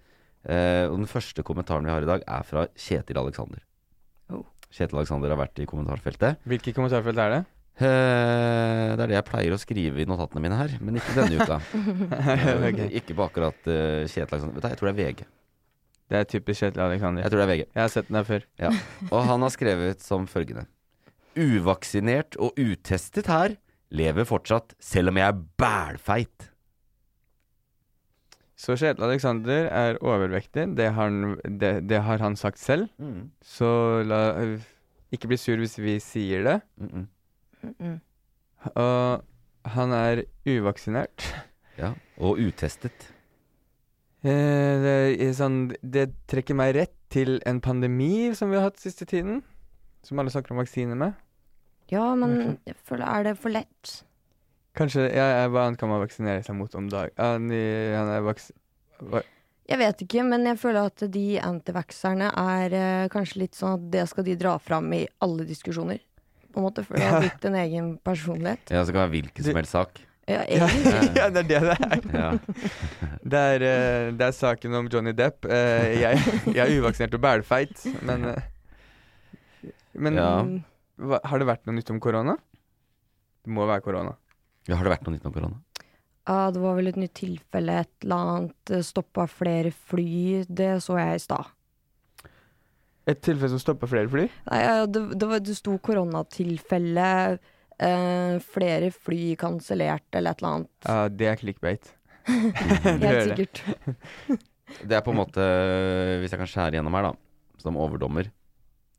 Eh, og den første kommentaren vi har i dag, er fra Kjetil Aleksander. Oh. Kjetil Aleksander har vært i kommentarfeltet. Hvilket kommentarfelt er det? Eh, det er det jeg pleier å skrive i notatene mine her, men ikke denne uka. Eh, Ok. Ikke på akkurat eh, Kjetil Aleksander. Vet du, jeg tror det er VG. Det er typisk Kjetil Alexander. Jeg tror det er VG. Jeg har sett den der før. Og han har skrevet som følgende. Uvaksinert og utestet her lever fortsatt selv om jeg er bælfeit. Så Kjetil Alexander er overvektig, det har, han, det, det har han sagt selv. Så la, ikke bli sur hvis vi sier det. Mm -mm. Mm -mm. Og han er uvaksinert. Ja. Og utestet. Eh, det, er sånn, det trekker meg rett til en pandemi som vi har hatt siste tiden. Som alle snakker om vaksine med. Ja, men jeg føler, er det for lett? Kanskje ja, ja, Hva annet kan man vaksinere seg mot om dag? Han, han er vaks... hva- Jeg vet ikke, men jeg føler at de antivaxerne er eh, kanskje litt sånn at det skal de dra fram i alle diskusjoner. På en måte, for det har blitt en egen personlighet. Ja, så kan det være hvilken som helst sak. Ja, Ja, egentlig. ja, det er det det er. Ja. Det er, eh, det er saken om Johnny Depp. Eh, jeg, jeg er uvaksinert og bælfeit, men eh, Men Ja. Mm. hva, har det vært noe nytt om korona? Det må være korona. Ja, har det vært noe nytt om korona? Ja, Ah, det var vel et nytt tilfelle, et eller annet. Stoppa flere fly. Det så jeg i stad. Et tilfelle som stoppa flere fly? Nei, ja, det, det, var, det sto koronatilfelle, eh, flere fly kansellert eller et eller annet. Ja, det er clickbait. det Helt hører jeg. sikkert. Det er på en måte, hvis jeg kan skjære gjennom her da Som overdommer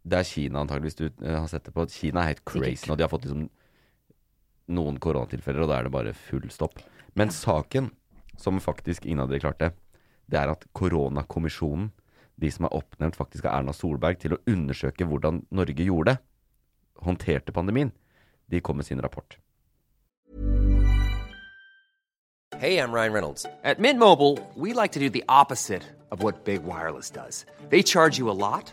Det er Kina antageligvis du eh, har sett det på Kina er helt crazy Sikkert. nå De har fått liksom noen koronatilfeller Og da er det bare full stopp Men saken som faktisk ingen av dere klarte Det er at koronakommisjonen De som er oppnevnt faktisk av Erna Solberg Til å undersøke hvordan Norge gjorde det håndterte pandemien, de kom med sin rapport. Hey, I'm Ryan Reynolds. At Mint Mobile, we like to do the opposite of what Big Wireless does. They charge you a lot,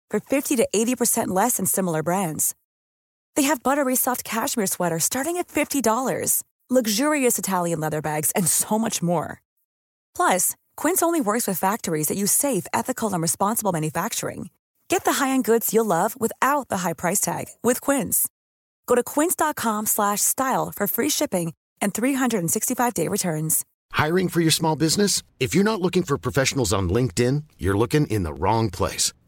for 50 to 80% less than similar brands. They have buttery soft cashmere sweaters starting at $50, luxurious Italian leather bags, and so much more. Plus, Quince only works with factories that use safe, ethical, and responsible manufacturing. Get the high-end goods you'll love without the high price tag with Quince. Go to quince.com/style slash style for free shipping and 365-day returns. Hiring for your small business? If you're not looking for professionals on LinkedIn, you're looking in the wrong place.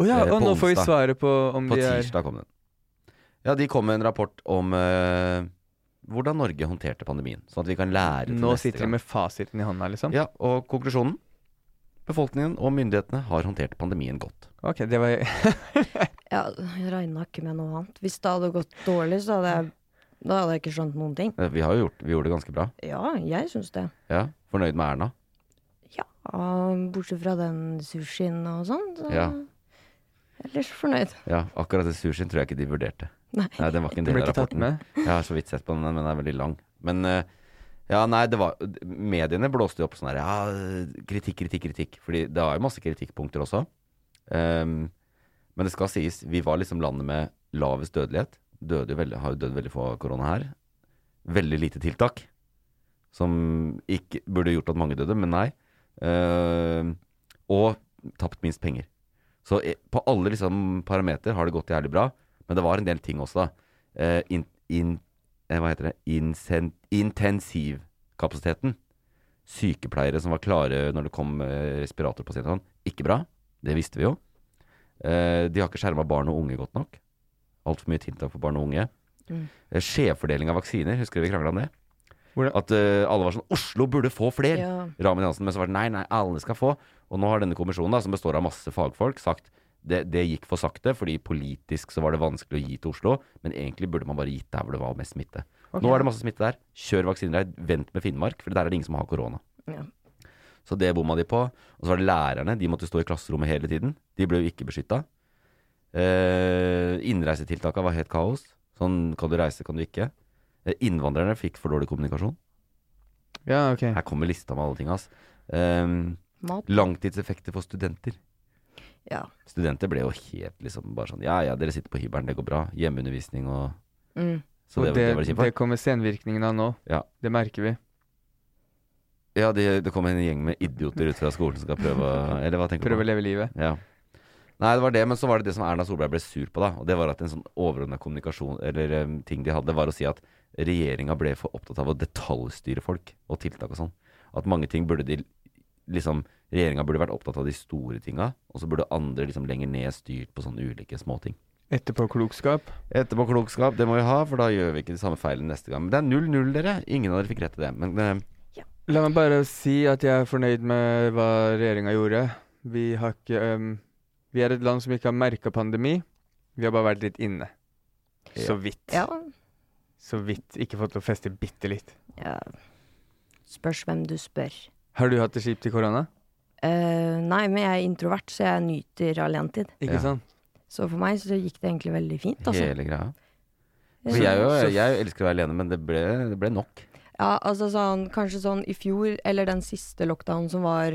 Å ja, Eh, og på nå får vi onsdag. svaret på om På de er tirsdag kom den. Ja, de kom med en rapport om eh, hvordan Norge håndterte pandemien, sånn at vi kan lære til Nå neste sitter de gang. med fasiten i hånda, liksom? Ja, og konklusjonen? Befolkningen og myndighetene har håndtert pandemien godt. Ok, det var Ja, jeg regna ikke med noe annet. Hvis det hadde gått dårlig, så hadde jeg, da hadde jeg ikke skjønt noen ting. Eh, Vi har jo gjort, vi gjorde det ganske bra. Ja, jeg syns det. Ja, Fornøyd med Erna. Ja, bortsett fra den sushien og sånn. Så Ja. Ellers fornøyd. Ja, Akkurat det sushien tror jeg ikke de vurderte. Nei. Nei, Den var ikke en Det del ble av ikke tatt rapporten. med. Jeg har så vidt sett på den, men den er veldig lang. Men eh, ja, nei, det var Mediene blåste jo opp sånn her Ja, kritikk, kritikk, kritikk. Fordi det var jo masse kritikkpunkter også. Ehm, men det skal sies, vi var liksom landet med lavest dødelighet. Døde jo veldig, har jo dødd veldig få av korona her. Veldig lite tiltak. Som ikke burde gjort at mange døde, men nei. Ehm, og tapt minst penger. Så eh, på alle liksom parameter har det gått jævlig bra. Men det var en del ting også, da. Eh, in, in, eh, hva heter det? Insen, intensivkapasiteten. Sykepleiere som var klare når det kom eh, respiratorpasienter. og sånn. Ikke bra. Det visste vi jo. Eh, de har ikke skjerma barn og unge godt nok. Altfor mye tiltak for barn og unge. Mm. Eh, skjevfordeling av vaksiner. Husker du vi krangla om det? Hvordan- At eh, alle var sånn Oslo burde få flere! Ja. Ramen Johansen, men så var det nei, nei, alle skal få. Og nå har denne kommisjonen, da, som består av masse fagfolk, sagt det, det gikk for sakte, fordi politisk så var det vanskelig å gi til Oslo, men egentlig burde man bare gitt der hvor det var mest smitte. Nå er det masse smitte der. Kjør vaksiner der. Vent med Finnmark, for der er det ingen som har korona. Ja. Så det bomma de på. Og så var det lærerne. De måtte stå i klasserommet hele tiden. De ble jo ikke beskytta. Eh, innreisetiltaka var helt kaos. Sånn kan du reise, kan du ikke. Eh, innvandrerne fikk for dårlig kommunikasjon. Ja, ok. Her kommer lista med alle ting, ass. Ehm, Mat. Langtidseffekter for studenter. Ja. Studenter ble jo helt liksom bare sånn Ja ja, dere sitter på hybelen, det går bra. Hjemmeundervisning og Mm. Så det, det, Og det, var det det, kjipt. kommer senvirkningene av nå. Ja. Det merker vi. Ja, det, det kom en gjeng med idioter ut fra skolen som skal prøve å Eller hva tenker du Prøve på? å leve livet. Ja. Nei, det var det, men så var det det som Erna Solberg ble sur på, da. Og det var at en sånn overordna kommunikasjon, eller em, ting de hadde, var å si at regjeringa ble for opptatt av å detaljstyre folk og tiltak og sånn. At mange ting burde de liksom Regjeringa burde vært opptatt av de store tinga, og så burde andre liksom lenger ned styrt på sånne ulike småting. Etterpåklokskap. Etterpåklokskap, det må vi ha, for da gjør vi ikke de samme feilene neste gang. Men det er 0-0, dere. Ingen av dere fikk rett i det. Men eh, La meg bare si at jeg er fornøyd med hva regjeringa gjorde. Vi har ikke øhm, Vi er et land som ikke har merka pandemi. Vi har bare vært litt inne. Så vidt. ja. så vidt ikke fått lov å feste bitte litt. Ja. Spørs hvem du spør. Har du hatt det kjipt i korona? Eh, nei, men jeg er introvert, så jeg nyter alenetid. Ikke Ja. sant? Så for meg så gikk det egentlig veldig fint. Altså. Hele greia. Ja. For jeg, jo, jeg elsker å være alene, men det ble, det ble nok. Ja, altså sånn, Kanskje sånn i fjor, eller den siste lockdown som var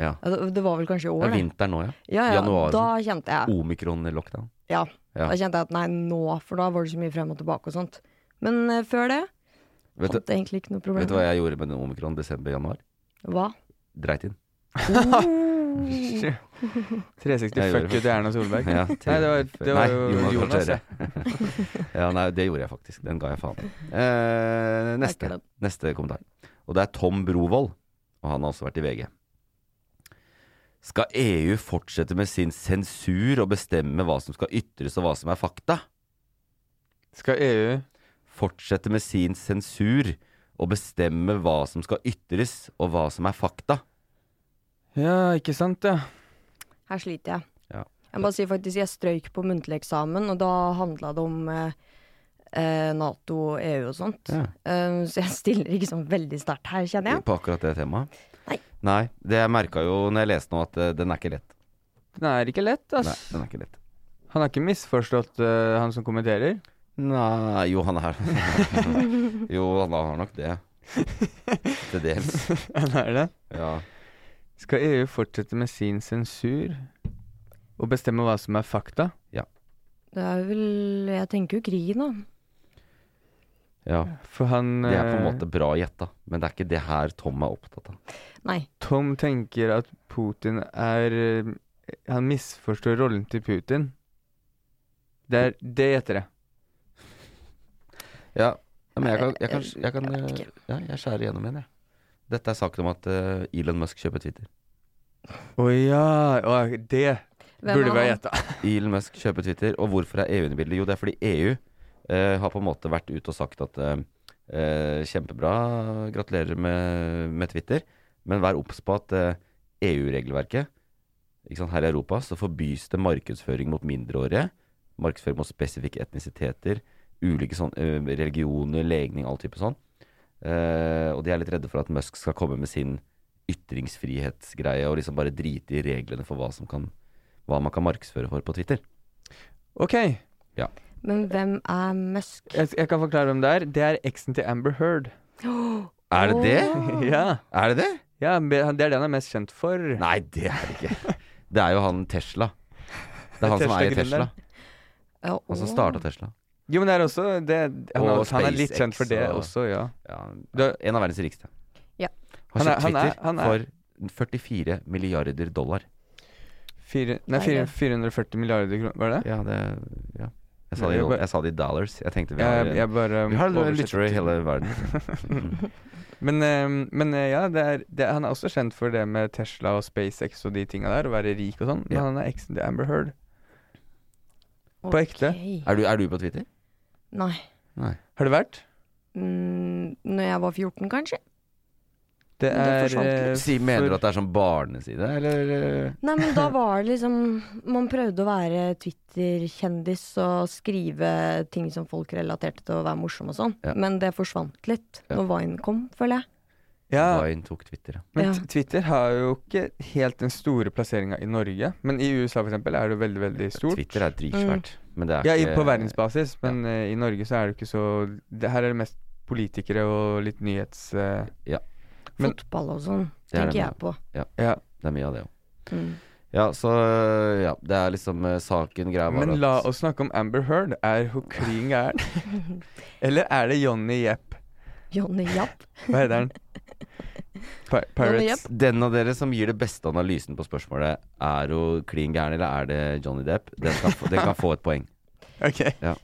Ja. ja, det- Det var vel kanskje i Det år, er det. vinter nå, ja. Ja, ja, Januar. da kjente jeg Omikron-lockdown. ja, Ja. Da kjente jeg at nei, nå, for da var det så mye frem og tilbake og sånt. Men eh, før det Vet du, hadde jeg egentlig ikke noe problem. vet du hva jeg gjorde med den omikron desember-januar? Hva? Dreit inn. Oh. 360 Jeg gjorde fuck you til Erna Solberg. Ja, Nei, det var, det Nei, var jo Jonas. Gahr Støre. ja, nei, det gjorde jeg faktisk. Den ga jeg faen i. Eh, neste, Takk neste kommentar. Og det er Tom Brovold, og han har også vært i VG. Skal EU fortsette med sin sensur og bestemme hva som skal ytres og hva som er fakta? ja. Skal E EU Fortsette med sin sensur og bestemme hva som skal ytres og hva som er fakta? Ja, ikke sant, ja. Her sliter jeg. Ja. Jeg må bare si faktisk, jeg strøyk på muntlig eksamen, og da handla det om eh, eh, Nato og EU og sånt. Ja. Eh, så jeg stiller ikke sånn veldig sterkt her, kjenner jeg. På akkurat det temaet? Nei. Nei det jeg merka jo når jeg leste nå, at eh, den er ikke lett. Den er ikke lett, ass. Nei, den er ikke lett. Han har ikke misforstått, eh, han som kommenterer. Nei Jo, han er Jo, han har nok det. Til dels. Han er det. Ja. Skal EU fortsette med sin sensur og bestemme hva som er fakta? Det er vel Jeg tenker jo krigen, da. ja. For han Det er på en eh, måte bra gjetta, men det er ikke det her Tom er opptatt av. Nei. Tom tenker at Putin er eh, Han misforstår rollen til Putin. Det er det gjetter jeg. Ja, men jeg kan, jeg kan, jeg kan, Jeg vet eh, ja, jeg skjærer igjennom igjen, jeg. Dette er saken om at eh, Elon Musk kjøper Twitter. Å ja! å, det Hvem burde er vi ha han? gjetta. Elon Musk kjøper Twitter, og hvorfor er EU inne i bildet? Jo, det er fordi EU eh, har på en måte vært ute og sagt at eh, eh, kjempebra, gratulerer med, med Twitter, men vær obs på at eh, EU-regelverket ikke sant, her i Europa så forbys det markedsføring mot mindreårige, markedsføring mot spesifikke etnisiteter, ulike sånn, eh, religioner, legning, all type sånn. Eh, og de er litt redde for at Musk skal komme med sin ytringsfrihetsgreie og liksom bare drite i reglene for hva, som kan, hva man kan markedsføre for på Twitter. Ok, jeg, Men hvem er Musk? jeg kan forklare hvem det er. Det er eksen til Amber Heard. Er det det? ja. Er det det? ja, det er det han er mest kjent for. Nei, det er det ikke. Det er jo han Tesla. Det er han som eier Tesla. Tesla-gründeren. Ja, Han som å. starta Tesla. Jo, men det er også det, han, Og er- han er litt SpaceX kjent for det og- også, ja. Ja, Det- en av verdens rikeste. Ja. Har Han er- kjøpt han er- Twitter han er- for 44 milliarder dollar. Fire, nei, Nei, fire, det- 440 milliarder kroner, var det? Ja, det ja. Jeg, sa det, i Jeg dol- bare- jeg sa det i dollars. Jeg tenkte vi har, Jeg, jeg bare vi har Mm. oversetter literally til- hele verden. Men, eh, men eh, ja, det er, det, han er også kjent for det med Tesla og SpaceX og de tinga der, å være rik og sånn. Men Ja. han er eksen til Amber Heard. På Ok. Er du, er du på Twitter? Nei. Nei. Har det vært? Mm, når jeg var 14, kanskje? Det Men det er forsvant litt. eh, Si, mener for- du at det er sånn barneside, eller eh, Nei, men da var det liksom Man prøvde å være Twitter-kjendis og skrive ting som folk relaterte til å være morsom og sånn, Ja. men det forsvant litt Ja. når Vine kom, føler jeg. Ja, Vine tok Twitter, ja. men Ja. t- Twitter har jo ikke helt den store plasseringa i Norge. Men i USA for eksempel er det jo veldig, veldig stort. Twitter er dritsvært. Men det er Ja, i, ikke på verdensbasis, men eh, i Norge så er det ikke så det, Her er det mest politikere og litt nyhets... eh, Men- Fotball og sånn, Det er det tenker jeg med. på. ja. Det er mye av det òg. Mm. Ja, så ja, det er liksom eh, saken greia var Men at- la oss snakke om Amber Heard. Er hun klin gæren? Eller er det Johnny Jepp? Johnny Japp. Hva heter han? Pi Johnny Pirates? Jepp. Den av dere som gir det beste analysen på spørsmålet, er hun klin gæren eller er det Johnny Depp, den kan få, den kan få et poeng. Ok. Ja. Ja.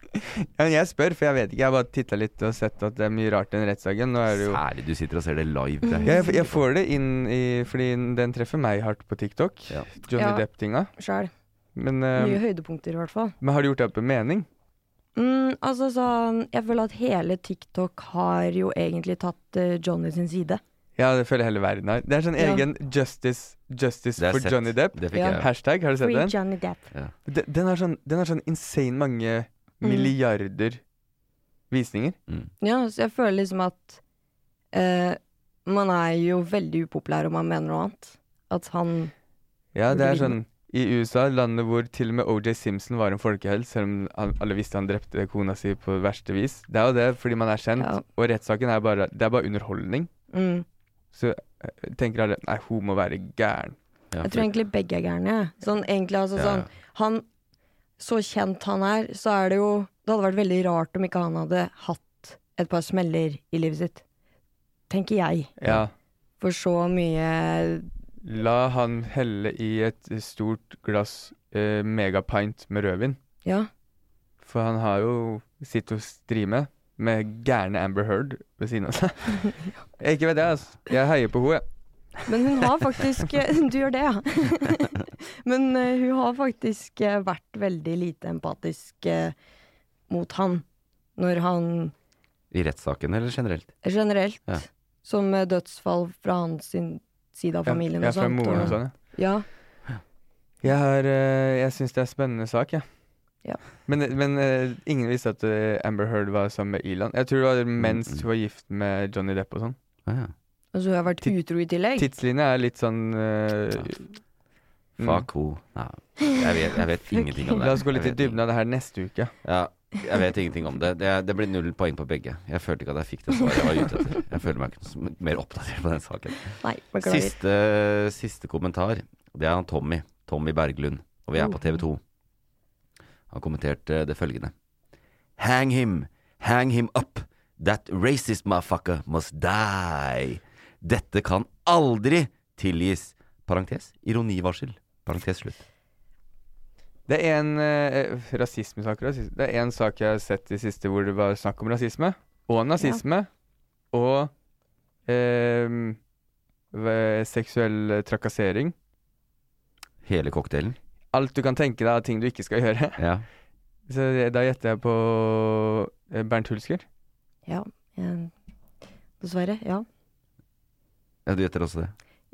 men jeg spør, for jeg vet ikke. Jeg har bare titta litt og sett at det er mye rart i den rettssaken. Nå er det jo Særlig du sitter og ser det live. Det er jeg, helt jeg får det inn i Fordi den treffer meg hardt på TikTok. Ja. Johnny Ja. Depp-tinga. Sjæl. Men, Um, eh, Mye høydepunkter, i hvert fall. men har du gjort deg opp en mening? Mm, altså sånn Jeg føler at hele TikTok har jo egentlig tatt eh, Johnny sin side. Ja, det føler hele verden har. Det er sånn Ja. egen justice, justice Det er for sett. Johnny Depp. Det fikk Ja. jeg. Hashtag, har du sett Free den? Johnny Depp. Den, den, har sånn, den har sånn insane mange Mm. milliarder visninger. Mm. Ja, så jeg føler liksom at eh, man er jo veldig upopulær om man mener noe annet. At han Ja, det er Burde sånn i USA, landet hvor til og med OJ Simpson var en folkehelt, selv om han, alle visste han drepte kona si på verste vis. Det er jo det, fordi man er kjent, Ja. og rettssaken er bare, det er bare underholdning. mm. Så eh, tenker alle nei, hun må være gæren. Ja. Jeg tror egentlig begge er gærne. jeg. Sånn egentlig, altså Ja, ja. sånn Han, så kjent han er, så er det jo Det hadde vært veldig rart om ikke han hadde hatt et par smeller i livet sitt. Tenker jeg. Ja. For så mye La han helle i et stort glass eh, megapint med rødvin, Ja. for han har jo sitt å stri med, med gærne Amber Heard ved siden av seg. jeg ikke vet det, altså. Jeg heier på henne, jeg. Men hun har faktisk Du gjør det, ja. Men eh, hun har faktisk eh, vært veldig lite empatisk eh, mot han. Når han I rettssaken eller generelt? generelt, Ja. som eh, dødsfall fra hans sin side av familien jeg er og fra sånt. moren og sånn, ja. Ja. Jeg, har, eh, jeg syns det er en spennende sak, jeg. Ja. Men, men eh, ingen visste at eh, Amber Heard var sammen med Elon. Jeg tror det var mens hun var gift med Johnny Depp og sånn. Ah, ja. Og så Altså, har jeg vært Tid- utro i tillegg. Tidslinja er litt sånn eh, mm. Fuck ho. Nei, jeg vet, jeg vet ingenting om det. La oss gå litt i Jeg vet dybden av det her neste uke. Ja, jeg vet ingenting om det. Det, det blir null poeng på begge. Jeg følte ikke at jeg fikk det svaret jeg var ute etter. Jeg føler meg ikke som mer oppdatert på den saken. Nei, beklager. Siste, siste kommentar, det er han Tommy. Tommy Berglund. Og Mm. vi er på TV 2. Han kommenterte det følgende. Hang him! Hang him up! That racist motherfucker must die! Dette kan aldri tilgis! Parentes ironivarsel. Parentes slutt. Det er en eh, rasismesak rasisme. Det er en sak jeg har sett i siste hvor det var snakk om rasisme. Og nazisme. Og eh, ve- seksuell trakassering. Hele cocktailen. Alt du kan tenke deg av ting du ikke skal gjøre. Ja. Så jeg- da gjetter jeg på eh, Bernt Hulsker. Ja, eh, dessverre. Ja. ja, du gjetter også det.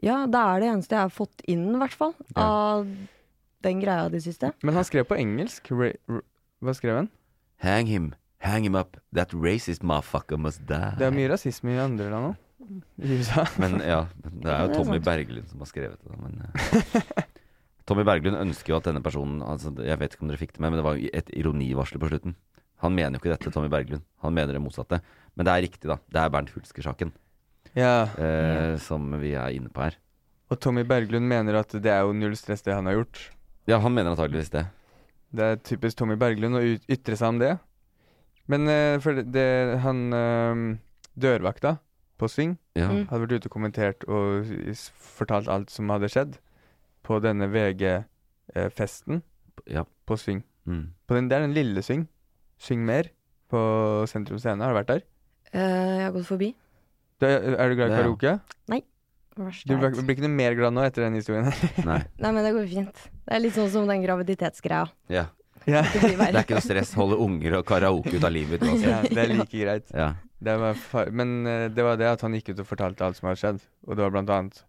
ja, det er det eneste jeg har fått inn, i hvert fall. Ja. Av den greia de siste. Men han skrev på engelsk. Ra ra hva skrev han? Hang him. Hang him up. That racist motherfucker must die. Det er mye rasisme i andre land òg. I USA. Men ja, men det er Ja, det jo er Tommy sant. Berglund som har skrevet det. da, Men, eh, Tommy Berglund ønsker jo at denne personen altså, Jeg vet ikke om dere fikk det med, men det var jo et ironivarsel på slutten. Han mener jo ikke dette, Tommy Berglund. Han mener det motsatte. Men det er riktig, da. Det er Bernt Hulsker-saken Ja. eh, som vi er inne på her. Og Tommy Berglund mener at det er jo null stress, det han har gjort. Ja, han mener antageligvis det. Det er typisk Tommy Berglund å ut- ytre seg om det. Men eh, for det, det han eh, dørvakta på Sving Ja. Mm. hadde vært ute og kommentert og s- fortalt alt som hadde skjedd på denne VG-festen Ja. på Sving. Mm. På den, det er den lille Sving. Syng mer på Sentrum Scene. Har du vært der? Eh, jeg har gått forbi. Du, er er du glad i Ja. karaoke? Verst Du jeg blir, vet. blir ikke noe mer glad nå etter den historien her? Nei. Nei, men det går fint. Det er litt sånn som den graviditetsgreia. Ja. ja. Det blir Det er verre. ikke noe stress. Holde unger og karaoke ut av livet uansett. ja, det er like greit. Ja. Det var fa- Men eh, det var det at han gikk ut og fortalte alt som hadde skjedd. Og det var blant annet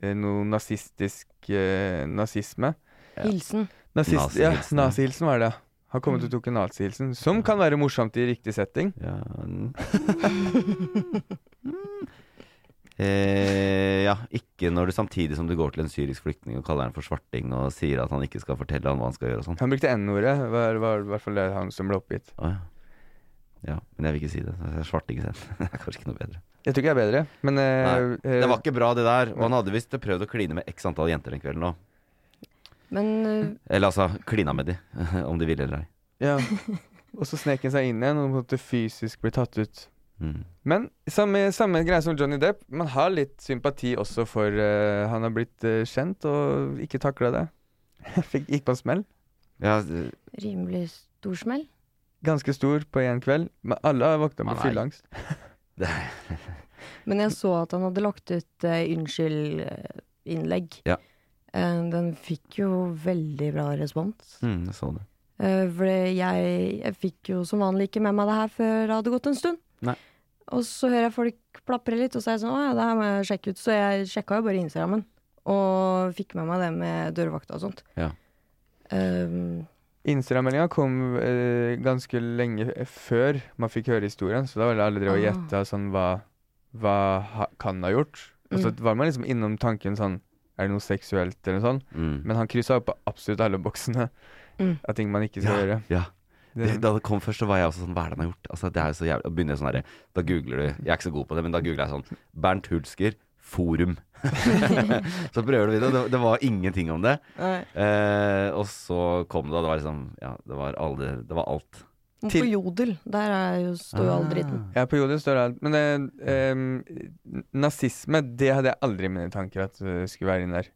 eh, noe nazistisk eh, nazisme. Hilsen. Nazist, Nazihilsen, ja, ja. Mm. nazihilsen var det. ja. Han kom ut og tok en nazihilsen, som kan være morsomt i riktig setting. Ja mm. eh, Ja, ikke når du samtidig som du går til en syrisk flyktning og kaller han for svarting og sier at han ikke skal fortelle han hva han skal gjøre og sånn. Han brukte N-ordet, var, var i hvert fall det han som ble oppgitt. Å, ja. ja, men jeg vil ikke si det. så jeg er Svarting selv. Det er kanskje ikke noe bedre. Jeg tror ikke jeg er bedre, men eh, Nei, eh, Det var ikke bra, det der. Og han hadde visst prøvd å kline med x antall jenter den kvelden òg. Men eh, Eller altså, klina med de, om de ville eller ei. ja. Og så snek han seg inn igjen og måtte fysisk bli tatt ut. Mm. Men samme, samme greie som Johnny Depp, man har litt sympati også for eh, Han har blitt eh, kjent og ikke takla det. Fikk, gikk på en smell. Ja, det- rimelig stor smell. Ganske stor på én kveld. Men alle har våkna Man med er- fylleangst. Men jeg så at han hadde lagt ut eh, unnskyld-innlegg. Ja. Eh, den fikk jo veldig bra respons. mm, jeg så det. Eh, For det- jeg, jeg fikk jo som vanlig ikke med meg det her før det hadde gått en stund. Nei. Og så hører jeg folk plapre litt, og så er jeg sånn Å ja, det her må jeg sjekke ut. Så jeg sjekka jo bare Instagrammen. Og fikk med meg det med dørvakta og sånt. Ja. Um, Instagram-meldinga kom eh, ganske lenge f- før man fikk høre historien, så da var det alle drev og Ah. gjetta sånn hva, hva ha, kan ha gjort. Og så Mm. var man liksom innom tanken sånn Er det noe seksuelt, eller noe sånn? sånt? Mm. Men han kryssa opp på absolutt alle boksene Mm. av ting man ikke skal gjøre. Ja. Det, Det, da det kom først, så var jeg også sånn Hva er det han har gjort? Altså, det er jo så jævlig Da begynner jeg sånn her Da googler du Jeg er ikke så god på det, men da googler jeg sånn Bernt Hulsker forum. så prøver du videre. Det, det var ingenting om det. Nei. Eh, og så kom det, og det var liksom Ja, det var, alle, det var alt. Men Til- På Jodel, der er jo, står jo Ah. all dritten. ja, på Jodel står det alt. Men eh, em, n- nazisme, det hadde jeg aldri i mine tanker at eh, skulle være inn der.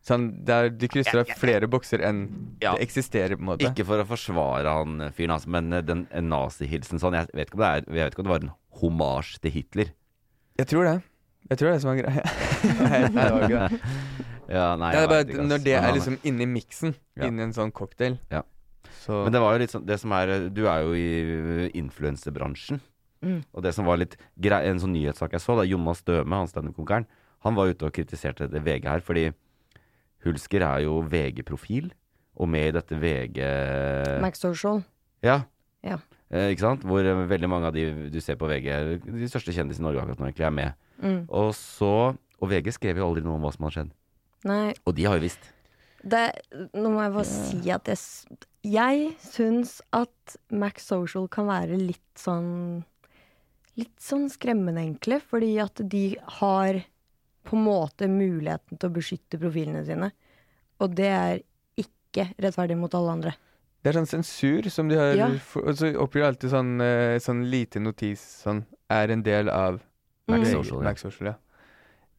Sånn, der du krysser av flere bokser enn Ja. det eksisterer, på en måte. Ah. Ikke for å forsvare han eh, fyren, altså, men eh, den eh, nazihilsen sånn jeg vet, ikke om det er, jeg vet ikke om det var en homasj til Hitler. Jeg tror det. Jeg tror det er det som er greia. Nei, nei, det var ikke det. Ja, nei, det jeg er bare vet at ikke, ass. når det Men er han- liksom inni miksen, Ja. inni en sånn cocktail, Ja. så Men det var jo litt sånn Det som er Du er jo i eh, influensebransjen. Mm. Og det som var litt grei, En sånn nyhetssak jeg så, da Jonas Døme, han standup-konkeren, han var ute og kritiserte det VG her, fordi Hulsker er jo VG-profil, og med i dette VG Max Social. Ja. Ja. Eh, ikke sant? Hvor eh, veldig mange av de du ser på VG, de største kjendisene i Norge akkurat nå, egentlig er med. Mm. Og så Og VG skrev jo aldri noe om hva som hadde skjedd. Nei, Og de har jo visst. det, nå må jeg bare si at jeg, s- jeg syns at Max Social kan være litt sånn Litt sånn skremmende, egentlig. Fordi at de har på en måte muligheten til å beskytte profilene sine. Og det er ikke rettferdig mot alle andre. Det er sånn sensur som de har Ja. for, Og så oppgir de alltid sånn, eh, sånn lite notis sånn Er en del av Max VG, Social, ja. Max Social, ja.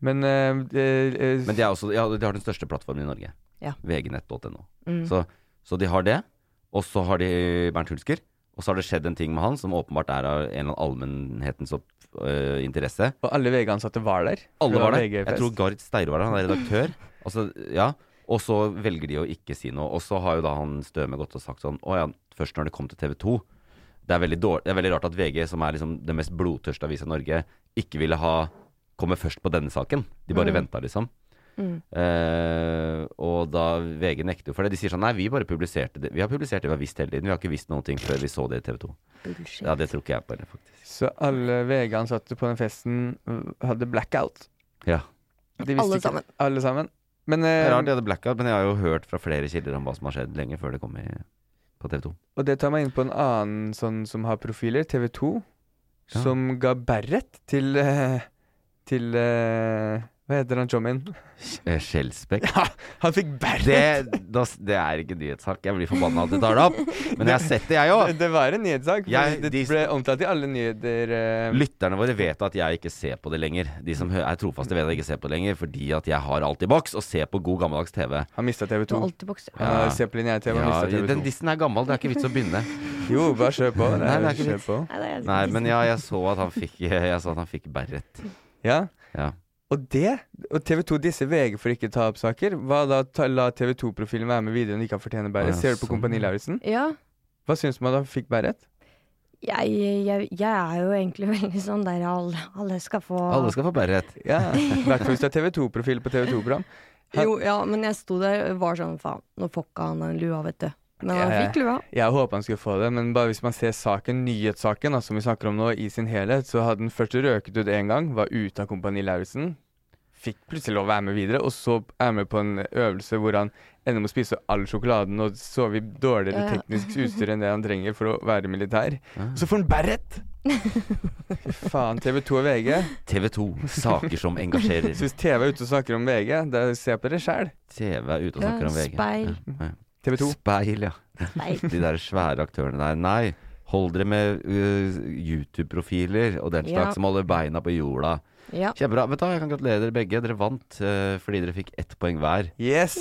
Men eh, eh, eh, Men de, er også, ja, de har den største plattformen i Norge. Ja. VGnett.no. Mm. Så, så de har det, og så har de Bernt Hulsker. Og så har det skjedd en ting med han som åpenbart er av en eller annen allmennhetens opp, øh, interesse. Og alle VG-ansatte var der. for Alle det var der. VG-fest. Jeg tror Gard Steiro var der, han er redaktør. Altså, ja. Og så velger de å ikke si noe. Og så har jo da han Støme gått og sagt sånn Å ja, først når det kom til TV 2. Det er, veldig dårlig, det er veldig rart at VG, som er liksom den mest blodtørste avisa i Norge, ikke ville ha komme først på denne saken. De bare venta, liksom. Eh, og da VG nekter jo for det. De sier sånn Nei, vi bare publiserte det. Vi har publisert det vi har visst hele tiden. Vi har ikke visst noen ting før vi så det i TV 2. Bullshit. Ja, det tror ikke jeg på heller, faktisk. Så alle VG-ansatte på den festen eh, hadde blackout. Ja. De visste Alle ikke- sammen. Alle sammen. Men, Det eh, er rart de hadde blackout, men jeg har jo hørt fra flere kilder om hva som har skjedd lenge før det kom i, på TV 2. Og det tar meg inn på en annen sånn som har profiler, TV 2, Ja. som ga Berret til eh, Til eh, Hva heter han chommien? Eh, Skjellspekk. Han fikk Berret! Det, da, det er ikke nyhetssak. Jeg blir forbanna at du tar det opp. Men jeg har sett det, jeg Det, òg. det var en nyhetssak. for Jeg- det de- ble omtalt i alle nyheter. eh, Lytterne våre vet at jeg ikke ser på det lenger. De som hø- er trofaste, vet at jeg ikke ser på det lenger, fordi at jeg har alt i boks og ser på god gammeldags TV. han mista TV Du 2. har alltid bokser. Han har Zeppelin i TV, han Ja, mistet TV den 2. dissen er gammel, det er ikke vits å begynne. Jo, bare kjør på. Nei, det er ikke kjør på. Nei, det er- Nei, men ja, jeg så at han fikk Jeg så at han fikk Berret. Ja. Ja. Og det, og TV 2 disser VG for ikke å ta opp saker. Hva da? Ta, la TV 2-profilen være med videre når de ikke fortjener Berret. Å, ja, Ser du på sånn. Kompani Lauritzen? ja. Hva syns man da han fikk Berret? Jeg, jeg, jeg er jo egentlig veldig sånn der alle, alle skal få Alle skal få Berret. Ja, i hvert fall hvis du har TV2-profil på TV2-program. Han- Jo, ja, men jeg sto der og var sånn faen, nå fucka han den lua, vet du. Men han Ja, ja. fikk lua. Jeg håper han skulle få det, men bare hvis man ser saken, nyhetssaken da, som vi snakker om nå, i sin helhet, så hadde den først røket ut én gang, var ute av Kompani Lauritzen, fikk plutselig lov å være med videre, og så er med på en øvelse hvor han ender med å spise all sjokoladen og sove i dårligere Ja, ja. teknisk utstyr enn det han trenger for å være militær. Så får han Berret! Fy faen, TV 2 og VG. TV 2. Saker som engasjerer. Så hvis TV er ute og snakker om VG, da se på dere sjæl. TV er ute og snakker om VG. Speil. Ja, ja. TV 2. Speil, ja. Speil. De der svære aktørene der. Nei, hold dere med øh, YouTube-profiler og den Ja. slags som holder beina på jorda. Ja. Kjempebra. Vet du, hva, Jeg kan gratulere dere begge. Dere vant øh, fordi dere fikk ett poeng hver. Yes!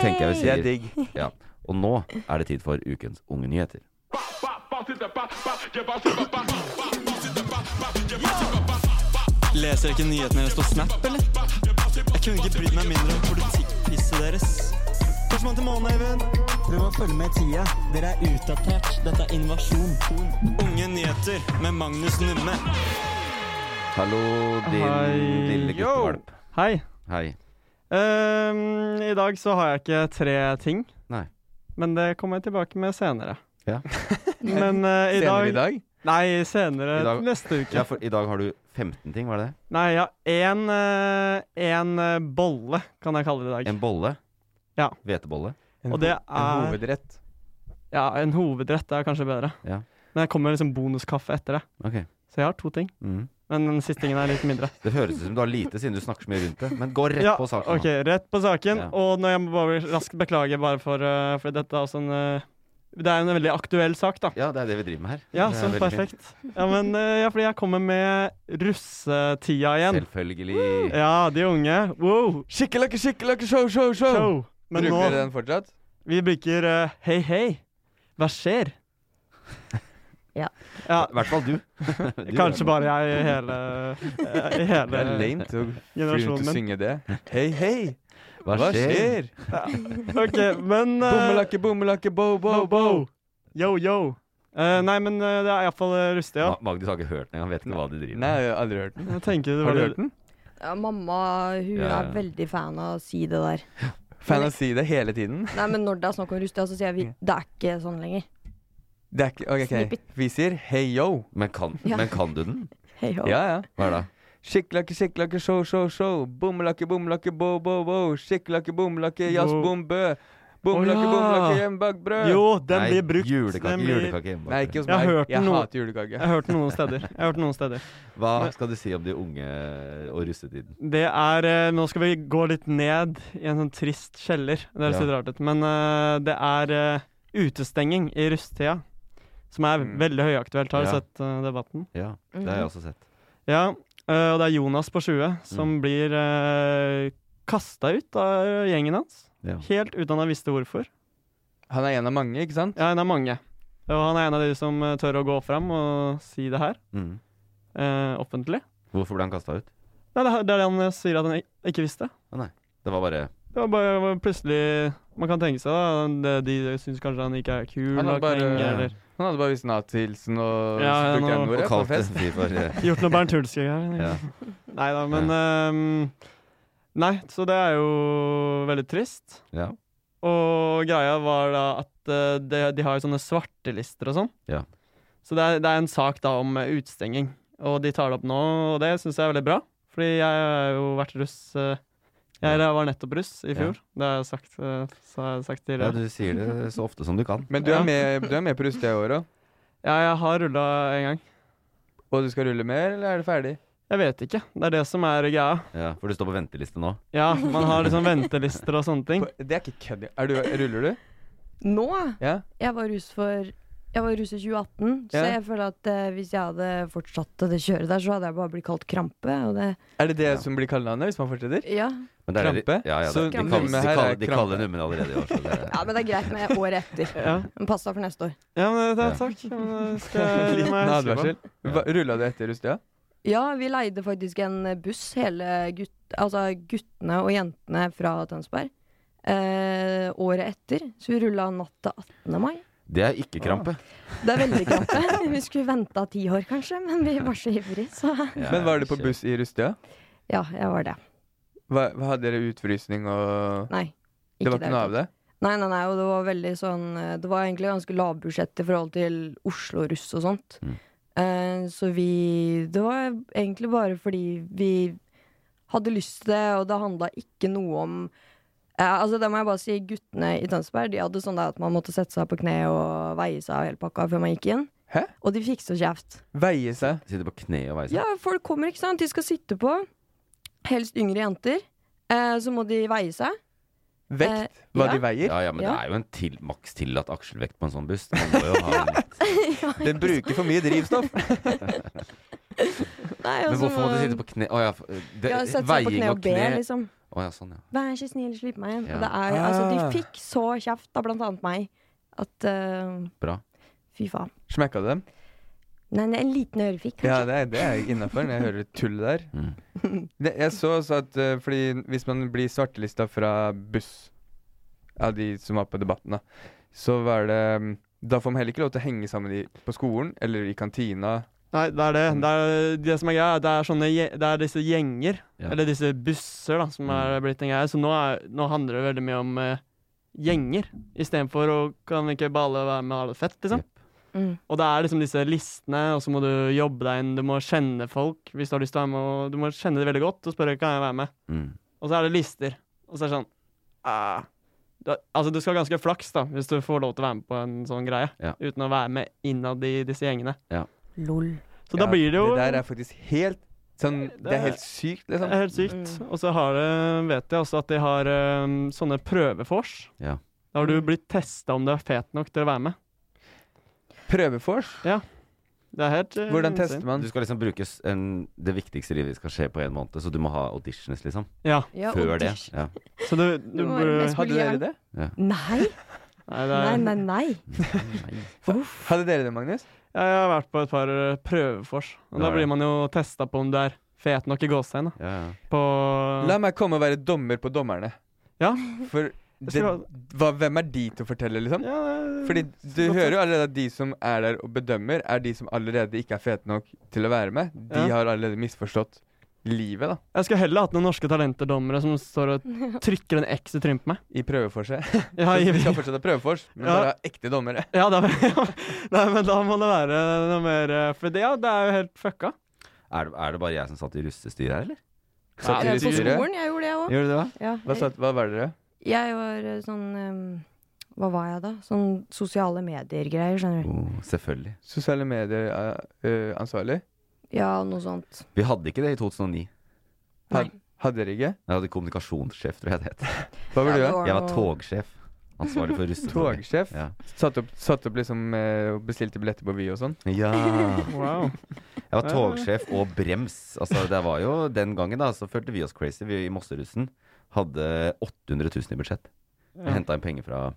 Tenker jeg vi Det er sier. digg. Ja. Og nå er det tid for ukens Unge nyheter. Leser jeg ikke nyhetene deres på Snap, eller? Jeg kunne ikke brydd meg mindre om politikkpisset deres. Førstemann til månen, Eivind. Prøv å følge med i tida. Dere er utdatert. Dette er invasjon. Unge nyheter med Magnus Numme. Hallo, din Hei. lille guttevalp. Hei. Hei. Ehm, I dag så har jeg ikke tre ting. Nei. Men det kommer jeg tilbake med senere. Ja. Men eh, i Senere dag i dag? Nei, senere I dag- neste uke. Ja, for i dag har du 15 ting, var det det? Nei, ja, en, eh, en eh, bolle kan jeg kalle det i dag. En bolle? Ja. Hvetebolle? Og det En er hovedrett. Ja, en hovedrett er kanskje bedre. Ja. Men jeg kommer med liksom bonuskaffe etter det. Ok. Så jeg har to ting. Mhm. Men den siste tingen er litt mindre. Det høres ut som du har lite siden du snakker så mye rundt det, men gå rett Ja, på saken. Ok, nå. rett på saken. Ja. Og når jeg må bare raskt beklage bare for, eh, for dette er også en eh, Det er en veldig aktuell sak, da. Ja, det er det vi driver med her. Ja, Det er så veldig perfekt. Ja, men eh, ja, fordi jeg kommer med russetida fint. igjen. Selvfølgelig. Ja, de unge. Wow! Skikkelakke, skikkelakke, show, show, show! Show! Men Bruker nå dere den fortsatt? Vi bruker eh, hei, hei. Hva skjer? Ja. Ja, I hvert fall du. Du Kanskje er- bare jeg i hele, eh, i Det er hele lame å fly rundt generasjonen og min. synge det. Hei, hei! Hva Hva skjer? skjer? Ok, men eh, Bommelakke, bommelakke, bo, bo, Bo, bo. bo. Yo, yo. Eh, nei, men eh, det er iallfall rustetida. Ma- Magnus har ikke hørt den, han vet ikke hva de driver Nei, jeg har aldri hørt den. Jeg tenker det Har var du det- hørt den? Ja, mamma hun Ja, ja. er veldig fan av å si det der. Fan av si det hele tiden. Nei, men når det er snakk om rustia, så sier jeg vi, det er ikke sånn lenger. Det er ikke OK. Snipp ok. Vi sier hey yo. Men kan, Ja. men kan du den? Hei, ho. Ja, ja. Hva er det? Skikkelakke, skikkelakke, show, show, show. Bommelakke, bommelakke, bo, bo, bo. Skikkelakke, bommelakke, jazz, Bo. bom, bø. Å, Bommelakke, ja. bommelakke, hjemmebakt brød. Jo, den Nei, blir brukt. Julekake, den blir- julekake hjemme. Nei, ikke hos Jeg har meg. hørt jeg den nå. hater Jeg har julekake. hørt den noen steder. Jeg har hørt den noen steder. Hva skal du si om de unge eh, og russetiden? Det er eh, Nå skal vi gå litt ned i en sånn trist kjeller. Det høres Ja. litt rart ut, men eh, det er eh, utestenging i rusttida. Som er Mm. veldig høyaktuelt. Har du Ja. sett eh, debatten? Ja, Mm. det Mhm. har jeg også sett. Mm. Ja. eh, og det er Jonas på 20 som blir uh, kasta ut av gjengen hans. Ja. Helt uten han visste hvorfor. Han er en av mange, ikke sant? Ja, han er mange. Og han er en av de som eh, tør å gå fram og si det her Mm. eh, offentlig. Hvorfor ble han kasta ut? Nei, det er det er det han eh, sier at han ik- ikke visste. Det var bare Det var bare det var plutselig Man kan tenke seg da det- De syns kanskje han ikke er kul Han har og bare- kleng, eller Han hadde bare visst Nathilsen og Ja, ja, spurte nå- N-ordet Og på kalt fest. FI for eh, gjort noe Bernt Hulsker her. ja. Nei da, men ehm, Nei, så det er jo veldig trist. ja. Og greia var da at eh, de, de har jo sånne svartelister og sånn. Ja. Så det er, det er en sak da om eh, utestenging, og de tar det opp nå, og det syns jeg er veldig bra. Fordi jeg har jo vært russ eh, Jeg var nettopp russ i fjor. Det har jeg sagt, eh, så har jeg sagt ja, tidligere. du sier det så ofte som du kan. Men du Ja. er med, du er med på rustet i år òg? Ja, jeg har rulla en gang. Og du skal rulle mer, eller er det ferdig? Jeg vet ikke. Det er det som er greia. Ja, for du står på venteliste nå. Ja, man har liksom ventelister og sånne ting. På- Det er ikke kødd. Er du, ruller du? Nå? Ja? Jeg var russ for jeg var russ i 2018, så Ja. jeg føler at eh, hvis jeg hadde fortsatt det kjøret der, så hadde jeg bare blitt kalt krampe. Og det, Er det det Ja. som blir kallenavnet hvis man fortsetter? ja. Men det er- Krampe? Ja, ja, det, Så de kaller, de nummer her er kaller, de krampe. kaller nummeret allerede i år. Så det, ja, men det er greit med året etter. Ja, Men pass deg for neste år. ja men det, Ja. takk. Ja, men det skal jeg Liten må jeg huske på. advarsel. Hva- Rulla du etter rustet? Ja, vi leide faktisk en buss, hele gutt, altså guttene og jentene fra Tønsberg, eh, året etter. Så vi rulla natt til 18. mai. det er ikke krampe. Det er veldig krampe. Vi skulle venta ti år, kanskje, men vi var så ivrige, så Ja, Men var du på shit. buss i rustet? Ja, jeg var det. Hva, hva hadde dere utfrysning og Nei. Det var ikke noe av det? Nei, nei, nei, og det var veldig sånn eh, Det var egentlig ganske lavbudsjett i forhold til Oslo russ og sånt. Mm. Eh, så vi Det var egentlig bare fordi vi hadde lyst til det, og det handla ikke noe om eh, altså det må jeg bare si, Guttene i Tønsberg De hadde sånn der at man måtte sette seg på kne og veie seg og hele pakka før man gikk inn. Hæ? Og de fikk så kjeft. Veie seg? Sitter på kne og veiser. Ja, folk kommer, ikke sant? De skal sitte på. Helst yngre jenter. Eh, så må de veie seg. Vekt? Eh, Hva ja. de veier? Ja, ja, men Ja. det er jo en til, maks tillatt aksjelvekt på en sånn buss. Man må jo ha en litt. Den bruker for mye drivstoff. Nei, og Men så hvorfor må må- du sitte på kne? Å ja, f- det, Ja, sette seg på kne og be, liksom. Å ja, sånn, ja. Vær så snill, slipp meg igjen. Ja. Og det er, altså, Ah. de fikk så kjeft av blant annet meg at eh, Bra. Fy faen. Smekka du dem? Nei, det er en liten ørefik, Ja, kanskje. det er, det er innafor. Jeg hører tull der. Mm. Det, jeg så også at eh, fordi hvis man blir svartelista fra buss av de som var på debatten, da, så var det mm, Da får man heller ikke lov til å henge sammen i, på skolen eller i kantina. Mm. Nei, det er det. Det, er, det som er greia, er at det er, sånne, gje- det er disse gjenger, Ja. Mm. Mm. eller disse busser, da, som er blitt en greie. Så nå, er, nå handler det veldig mye om eh, gjenger, istedenfor å Kan vi ikke bare alle være med og ha det fett, liksom? Mm. Og det er liksom disse listene, og så må du jobbe deg inn, du må kjenne folk hvis du har lyst til å være med, og du må kjenne dem veldig godt og spørre kan jeg være med. Mm. Og så er det lister. Og så er det sånn ah. du, Altså, du skal ha ganske flaks, da, hvis du får lov til å være med på en sånn greie, Ja. uten å være med innad i disse gjengene. Ja. Lol. Så da blir det jo Det der er faktisk helt sånn Det er helt sykt, liksom. Det er helt sykt. Mm. Og så har det, vet jeg også at de har um, sånne prøvefors. Ja. Da har du blitt testa om du er fet nok til å være med. Prøvefors? eh. Ja. Det er helt uh, insane. Du skal liksom bruke s- en, det viktigste i livet skal skje på en måned, så du må ha auditions, liksom. Ja. Ja, Før det. audition. Ja. Så du, du, Det var burde- mest Hadde mulig dere gjerne. det? Ja. Nei, Nei, det nei, er, nei. nei. Hadde dere det, Magnus? Jeg har vært på et par eh, prøvefors. Og Ja, da ja. blir man jo testa på om du er fet nok i gåsetegn. da. Ja, ja. På La meg komme og være dommer på dommerne. Ja. For det, skulle hva, hvem er de til å fortelle, liksom? ja, det- Fordi du godt hører jo allerede at de som er der og bedømmer, er de som allerede ikke er fete nok til å være med. De Ja. har allerede misforstått livet, da. Jeg skulle heller hatt noen norske talenterdommere som står og trykker en X i trynet på meg. I prøveforset. Ja, Vi skal i- fortsette å prøve for oss, men Ja. bare ha ekte dommere. ja, da, nei, men da må det være noe mer eh, For det, ja, det er jo helt fucka. Er, det, er det bare jeg som satt i russestyret her, eller? Satt Ja, dere Jeg i på styret? skolen, jeg gjorde det Gjør òg. du det, da? Ja, Hva, jeg, satt, hva var dere? jeg var eh, sånn ehm, Hva var jeg da? Sånn sosiale medier-greier, skjønner du. Oh, selvfølgelig. Sosiale medier eh, eh, ansvarlig? Ja, noe sånt. Vi hadde ikke det i 2009. Nei. Hadde dere ikke? Jeg hadde kommunikasjonssjef, tror jeg det het. Hva var Ja, du, det da? Jeg var noe- togsjef. Ansvarlig for russetoget. Togsjef? Ja. Satt opp, satt opp liksom eh, og bestilte billetter på Vy og sånn? ja. Wow. Jeg var togsjef og brems. Altså, det var jo Den gangen da, så følte vi oss crazy. Vi i Mosserussen hadde 800 000 i budsjett. Jeg Ja. henta inn penger fra,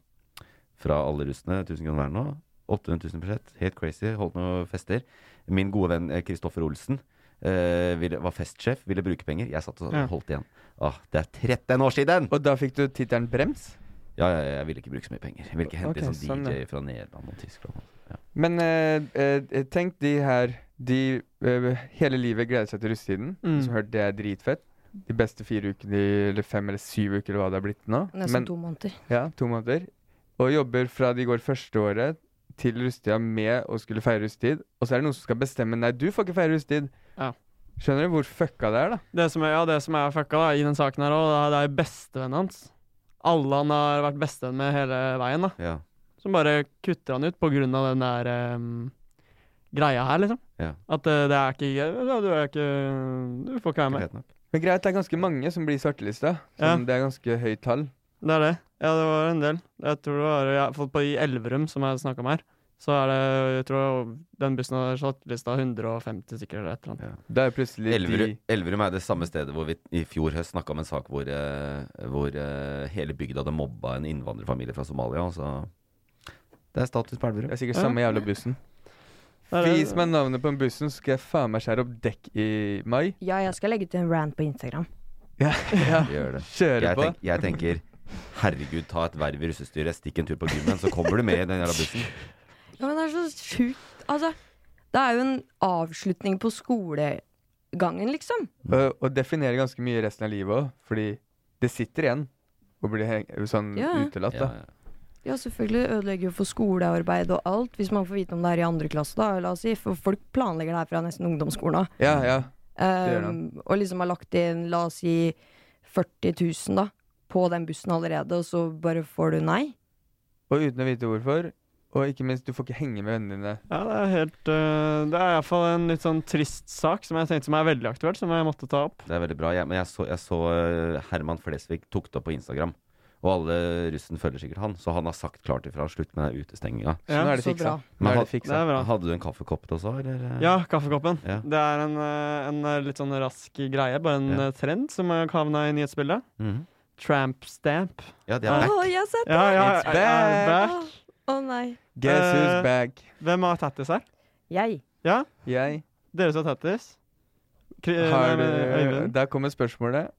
fra alle russene. 1000 kroner hver nå. 800 000 i budsjett. Helt crazy. Holdt noen fester. Min gode venn eh, Kristoffer Olsen eh, ville, var festsjef, ville bruke penger. Jeg satt og Ja. holdt igjen. Ah, det er 13 år siden! Og da fikk du tittelen Brems? Ja, ja, jeg ville ikke bruke så mye penger. Jeg ville ikke hente Ok, inn sånn, sånn ja. DJ fra Nederland og Tyskland. Men eh, eh, tenk de her De eh, hele livet gleder seg til russetiden. Mm. Som hørt det er dritfett. De beste fire ukene, eller fem eller syv uker, eller hva det er blitt nå. Nesten to måneder. Ja, to måneder. Og jobber fra de går første året til russetida med å skulle feire russetid. Og så er det noen som skal bestemme Nei, du får ikke feire russetid. Ja. Skjønner du hvor fucka det er, da? Det som er, ja, det som er fucka da, i den saken her òg, det er bestevennen hans. Alle han har vært bestevenn med hele veien, da. Ja. Som bare kutter han ut på grunn av den der em, greia her, liksom. Ja. At eh, det er ikke ja, Du er ikke Du får ikke være med. Greit nok. Men greit, det er ganske mange som blir svartelista. Ja. Sånn, Det er ganske høyt tall. Det er det. Ja, det var en del. Jeg tror det var ja, for på I Elverum, som jeg snakka om her, så er det Jeg tror den bussen har svartelista 150 stykker eller et eller annet. Da er plutselig Elverum, de Elverum er det samme stedet hvor vi i fjor høst snakka om en sak hvor, eh, hvor eh, hele bygda hadde mobba en innvandrerfamilie fra Somalia. altså. og så- det er status på Det Elverum. er sikkert Ja. samme jævla bussen. Det er det. Vis meg navnet på en bussen, så skal jeg faen meg skjære opp dekk i mai. Ja, jeg skal legge ut en rant på Instagram. Ja, ja. Gjør det. Kjøre Jeg, på. tenk, jeg tenker herregud, ta et verv i russestyret, stikk en tur på gymmen, så kommer du med i den jævla bussen. Ja, men det er så sjukt. Altså, det er jo en avslutning på skolegangen, liksom. Mm. Og, og definere ganske mye resten av livet òg, fordi det sitter igjen. Og blir heng sånn Ja, ja. utelatt, da. Ja, ja. Ja, selvfølgelig det ødelegger jo for skolearbeid og alt, hvis man får vite om det her i andre klasse, da, la oss si. For folk planlegger det her fra nesten ungdomsskolen av. Ja, ja. gjør Ehm, og liksom har lagt inn, la oss si, 40 000 da, på den bussen allerede, og så bare får du nei. Og uten å vite hvorfor. Og ikke minst, du får ikke henge med vennene dine. Ja, det er helt eh, Det er iallfall en litt sånn trist sak som jeg tenkte som er veldig aktuell, som jeg måtte ta opp. Det er veldig bra. Jeg, men jeg så, jeg så eh, Herman Flesvig tok det opp på Instagram. Og alle russen følger sikkert han, så han har sagt klart ifra. Slutt med den utestenginga. Så nå Ja, Sånn er det så fiksa. bra. Nå Men er ha- det fiksa. det er bra. Hadde du en kaffekopp til oss òg, eller? eh? Ja, kaffekoppen. Ja. Det er en, eh, en eh, litt sånn rask greie, bare en Ja. eh, trend som har havna i nyhetsbildet. Mhm. Tramp stamp. ja de Å, er back. jeg har sett det! Ja, ja, It's ja, back. back. Å nei. Guess who's Eh. back? Hvem har tattis her? Jeg. Ja, Jeg dere som har tattis. Kri- har eh, nei, men, du Øyvind, Der kommer spørsmålet.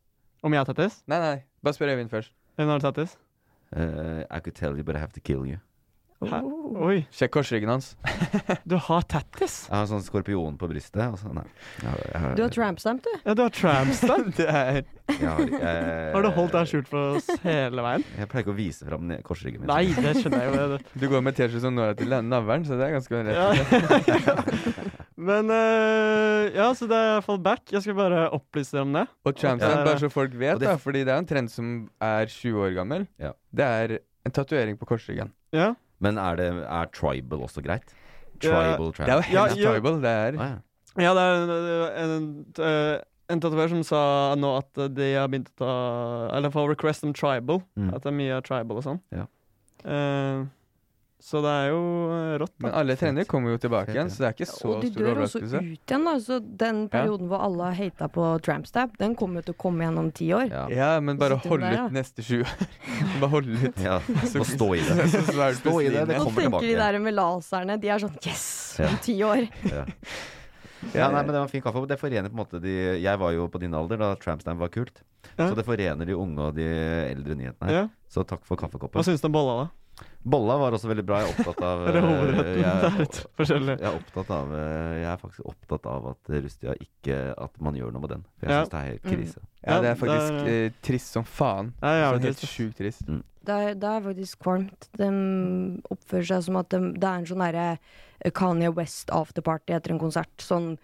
om jeg har tattis? Nei, nei. Bare spør Øyvind først. Hvem har tattis? Eh, I could tell you, but I have to kill you. Hæ? Oi. Oh. Sjekk korsryggen hans. Du har tattis. Jeg har sånn skorpion på brystet. Og så, nei. Jeg, har- jeg, har- Du har trampstamp, du. Ja, du har tramstamp. Det er jeg har, jeg, Har du holdt deg skjult for oss hele veien? Jeg pleier ikke å vise fram ne- korsryggen min. Nei, det skjønner jeg jo. Du går med T-skjorte som når deg til navlen, så det er ganske rett. Men eh, ja, så det er i hvert fall back. Jeg skal bare opplyse dere om det. Og Ja. trampstamp, bare så folk vet, Og det- da, fordi det er en trend som er 20 år gammel. Ja. Det er en tatovering på korsryggen. Ja. Men er, det, er tribal også greit? Ja, Tribal Det er tramp. jo Ja, helt ja. tribal, det er. Ah, ja. Ja, det er en, en, eh, en tatoverer som sa nå at de har begynt å ta Eller få request om tribal. Mm. At det er mye tribal og sånn. Ja. Eh, så det er jo eh, rått, da. Men alle trender kommer jo tilbake Fett, igjen, ja. så det er ikke så Og de stor dør også ut overraskelse. igjen, da. Så den perioden hvor alle har hata på trampstamp, den kommer jo til å komme igjen om ti år. Ja. Ja, men bare sitter du hold der, ut da. neste sju år. Bare hold ut. ja. Må stå i det. Så, så er du Stå i det, plutselig det Nå kommer tenker tilbake. de der med laserne, de er sånn yes, om Ja. ti år. Ja. ja, nei, men Det var en fin kaffe. og Det forener på en måte de Jeg var jo på din alder da Trampstamp var kult. Ja. Så det forener de unge og de eldre nyhetene. her Ja. Så takk for Hva kaffekoppen. syns du om bolla, da? Bolla var også veldig bra. Jeg er opptatt av eh, Er det hovedretten? Det er jeg, litt forskjellig. jeg er opptatt av eh, Jeg er faktisk opptatt av at Rustia ikke At man gjør noe med den. For jeg Ja. syns det er Mm. helt krise. Ja, det Ja, er faktisk det eh, trist som faen. Det er Sånn jævlig helt trist, ass. sjukt trist. Det er, det er faktisk kvalmt. De oppfører seg som at de, det er en sånn derre Kanye West afterparty etter en konsert. Sånn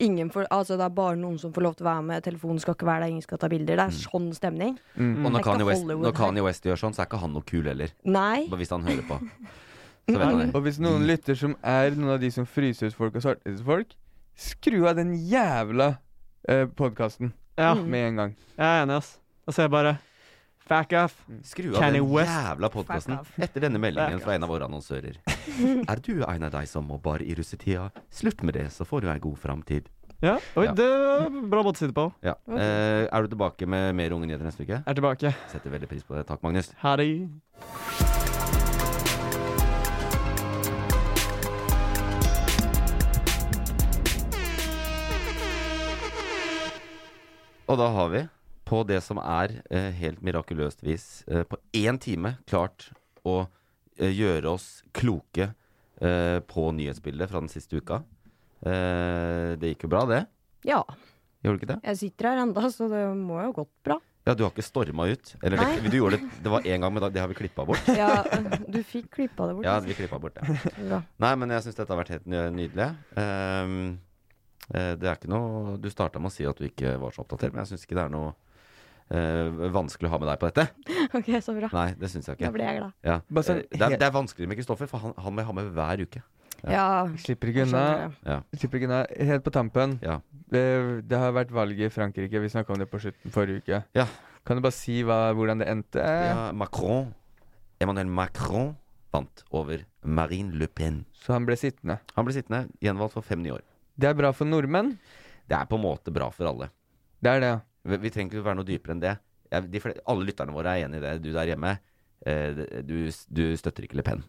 ingen får Altså, det er bare noen som får lov til å være med, telefonen skal ikke være der, ingen skal ta bilder. Det er Mm. sånn stemning. Mm. Og Det er når ikke Kanye, West, Hollywood når her. Kanye West gjør sånn, så er ikke han noe kul heller. Nei. Bare Hvis han hører på. Så vet han det. Og hvis noen Mm. lytter som er noen av de som fryser ut folk og svarter ut folk, skru av den jævla uh, podkasten Ja, Mm. med en gang. jeg er enig, ass. Da ser jeg bare Fuck off. Skru av Kanye den West. jævla podkasten etter denne meldingen fra en av våre annonsører. Er du en av de som må bare i russetida? Slutt med det, så får du ei god framtid. Ja, Oi, Ja. det var en bra måte å si det på. Ja. Eh, er du tilbake med mer unge nyheter neste uke? Jeg er tilbake. Setter veldig pris på det. Takk, Magnus. Ha det. Og da har vi, på det som er eh, helt mirakuløst vis, eh, på én time klart å eh, gjøre oss kloke eh, på nyhetsbildet fra den siste uka. Eh, det gikk jo bra, det. Ja. Gjorde det ikke det? Jeg sitter her enda, så det må jo gått bra. Ja, du har ikke storma ut? Eller det, Nei. du gjorde det, det var én gang, men da, det har vi klippa bort. Ja, du fikk klippa det bort. Ja, altså. vi klippet bort det. Bra. Nei, men jeg syns dette har vært helt ny- nydelig. Ehm, eh, det er ikke noe Du starta med å si at du ikke var så oppdatert, men jeg syns ikke det er noe eh, vanskelig å ha med deg på dette. OK, så bra. Nei, det syns jeg Da ikke. ble jeg glad. Ja. Bare Eh, sånn Det, er, det er vanskeligere med Kristoffer, for han, han må jeg ha med hver uke. Ja. Slipper ikke jeg unna. skjønner det. Ja. Slipper ikke unna. Helt på tampen. Ja. Det, det har vært valg i Frankrike. Vi snakka om det på slutten forrige uke. Ja. Kan du bare si hva, hvordan det endte? ja Macron Emmanuel Macron vant over Marine Le Pen. Så han ble sittende. Han ble sittende gjenvalgt for fem nye år. Det er bra for nordmenn. Det er på en måte bra for alle. Det er det. Vi vi trenger ikke være noe dypere enn det. Jeg, de fle- alle lytterne våre er enig i det. Du der hjemme, eh, det- du, s- du støtter ikke Le Pen.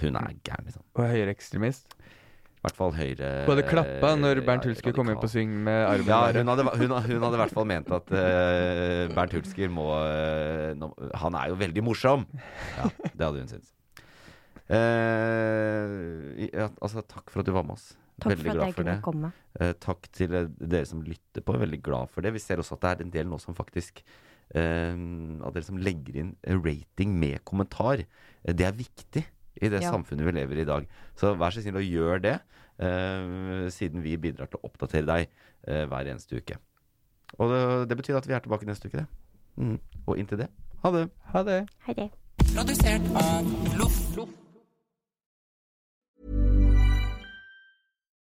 Hun er gæren, liksom. Og høyreekstremist. I hvert fall høyre Du hadde klappa når eh, Bernt Hulsker kom inn radikal. på Syng med armen Ja, i været. hun hadde, hun, hun hadde i hvert fall ment at eh, Bernt Hulsker må eh, nå- Han er jo veldig morsom! Ja, det hadde hun syntes. Eh, ja, altså, takk for at du var med oss. Takk veldig for at glad jeg for kunne det. komme. Eh, takk til eh, dere som lytter på. Jeg er Veldig glad for det. Vi ser også at det er en del nå som faktisk eh, Av dere som legger inn eh, rating med kommentar. Eh, det er viktig i det Ja. samfunnet vi lever i i dag. Så vær så snill og gjør det, eh, siden vi bidrar til å oppdatere deg eh, hver eneste uke. Og det, det betyr at vi er tilbake neste uke, det. Mm. Og inntil det, ha det. Ha det. Hei det. Produsert av Loff.